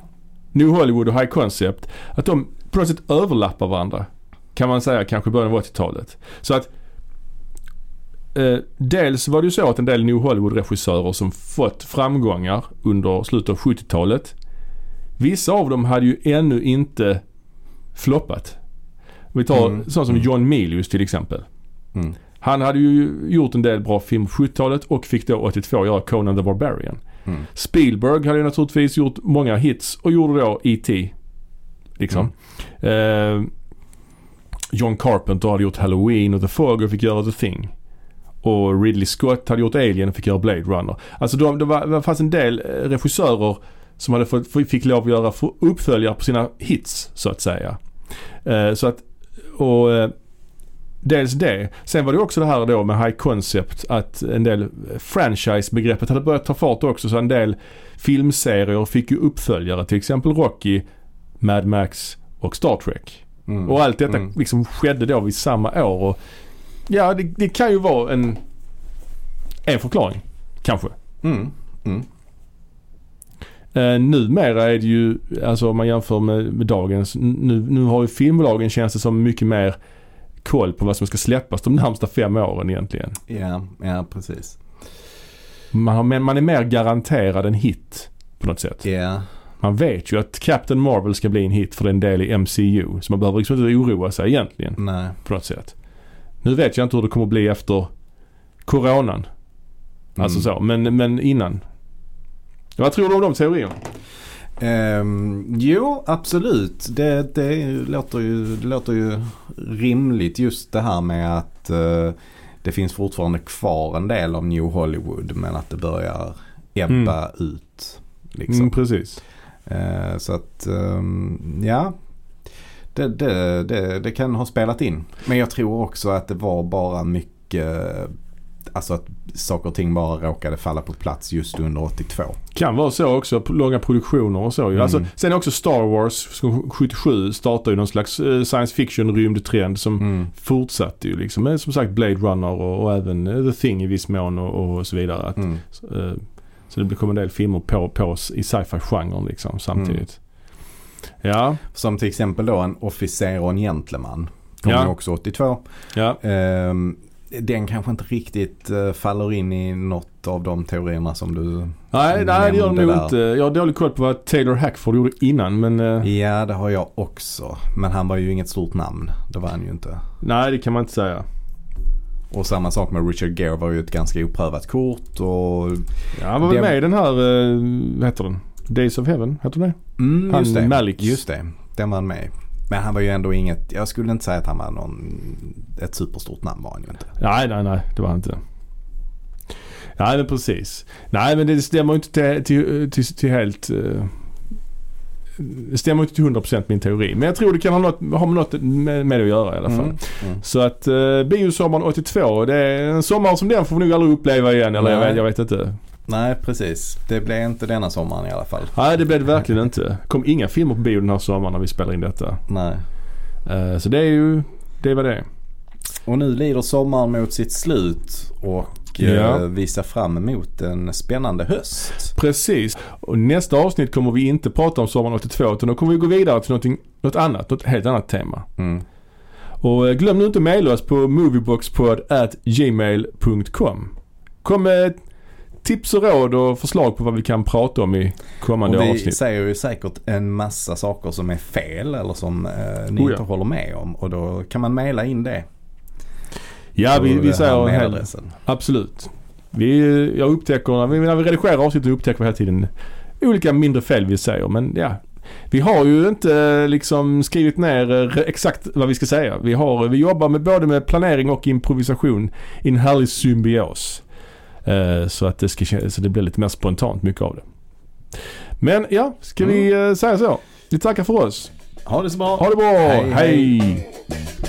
New Hollywood och High Concept, att de på något sätt överlappar varandra. Kan man säga kanske i början av 80-talet. Så att eh, dels var det ju så att en del New Hollywood-regissörer som fått framgångar under slutet av 70-talet. Vissa av dem hade ju ännu inte floppat. Vi tar Mm. sån som John Milius till exempel. Mm. Han hade ju gjort en del bra film på 70-talet och fick då 82 göra Conan the Barbarian. Mm. Spielberg hade ju naturligtvis gjort många hits och gjorde då E.T. Liksom. Eh, John Carpenter hade gjort Halloween och The Fog och fick göra The Thing. Och Ridley Scott hade gjort Alien och fick göra Blade Runner. Alltså de, det, var, det fanns en del eh, regissörer som hade fått, fick lov att göra för- uppföljare på sina hits så att säga. Eh, så att, och eh, dels det. Sen var det också det här då med high concept att en del eh, franchise-begreppet hade börjat ta fart också så en del filmserier fick ju uppföljare. Till exempel Rocky, Mad Max och Star Trek. Mm. Och allt detta Mm. liksom skedde då vid samma år. Och, ja, det, det kan ju vara en, en förklaring. Kanske. Mm. Mm. Eh, numera är det ju, alltså om man jämför med, med dagens, n- nu, nu har ju filmbolagen känns det som mycket mer koll på vad som ska släppas de närmsta fem åren egentligen. Ja, ja precis. Man, har, men man är mer garanterad en hit på något sätt. Ja. Man vet ju att Captain Marvel ska bli en hit för den del i MCU. Så man behöver liksom inte oroa sig egentligen Nej. på något sätt. Nu vet jag inte hur det kommer bli efter coronan. Alltså så, men, men innan. Vad tror du om de teorierna? Ehm, jo, absolut. Det, det, låter ju, det låter ju rimligt just det här med att eh, det finns fortfarande kvar en del av New Hollywood men att det börjar ebba ut. Liksom. Mm, precis. Eh, så att, ehm, ja. Det, det, det, det kan ha spelat in. Men jag tror också att det var bara mycket, alltså att saker och ting bara råkade falla på plats just under 82. Kan vara så också, p- långa produktioner och så ju. Alltså, Mm. sen också Star Wars 77 startade ju någon slags eh, science fiction rymdtrend som Mm. fortsatte ju liksom. Men som sagt Blade Runner och, och även eh, The Thing i viss mån och, och så vidare. Att, Mm. eh, så det kom en del filmer på, på s- i sci-fi-genren liksom samtidigt. Mm. Ja, Som till exempel då en officer och en gentleman. Kom Ja. ju också 82. ja. Ehm, den kanske inte riktigt eh, faller in i något av de teorierna som du... Nej, som nej det gör de nämnde nog där. inte. Jag har dålig koll på vad Taylor Hackford gjorde innan men eh, Ja, det har jag också. Men han var ju inget stort namn. Det var han ju inte. nej det kan man inte säga. Och samma sak med Richard Gere var ju ett ganska oprövat kort och... Ja, han var väl Det- med i den här, eh, vad heter den? Days of Heaven, heter den det? Mm, Han just det. Malick. Just det. Den var han med i. Men han var ju ändå inget... Jag skulle inte säga att han var någon... Ett superstort namn var han ju inte. Nej, nej, nej. Det var han inte. Nej, men precis. Nej, men det stämmer ju inte till, till, till, till helt... eh, Det stämmer ju inte till 100% min teori. Men jag tror det kan ha något, ha med något med, med det att göra i alla fall. Mm. Mm. Så att eh, biosommaren 82, det är en sommar som den får vi nog aldrig uppleva igen. Eller jag Nej. vet, jag vet inte. Nej, precis. Det blev inte denna sommaren i alla fall. Nej, det blev det verkligen inte. kom inga filmer på bio den här sommaren när vi spelade in detta. Nej. Eh, så det är ju, det var det. Och nu lider sommaren mot sitt slut och Ja. eh, vi ser fram emot en spännande höst. Precis. Och nästa avsnitt kommer vi inte prata om sommaren 82 utan då kommer vi gå vidare till någonting, något annat, något helt annat tema. Mm. Och eh, glöm nu inte att mejla oss på movieboxpod.gmail.com Kom med tips och råd och förslag på vad vi kan prata om i kommande Och vi avsnitt. säger ju säkert en massa saker som är fel eller som eh, ni Oh ja. inte håller med om och då kan man mejla in det. Ja, vi, vi På den här säger en hel mejladressen. Absolut. Vi, eh, jag upptäcker, när vi, när vi redigerar avsnitt upptäcker vi hela tiden olika mindre fel vi säger. Men ja, vi har ju inte eh, liksom skrivit ner eh, re- exakt vad vi ska säga. Vi, har, vi jobbar med både med planering och improvisation i en härlig symbios. Eh, Så att det, ska, kän- så det blir lite mer spontant mycket av det. Men ja, Mm. ska vi eh, säga så? Vi tackar för oss. Ha det så bra. Ha det bra! Hej, hej. hej.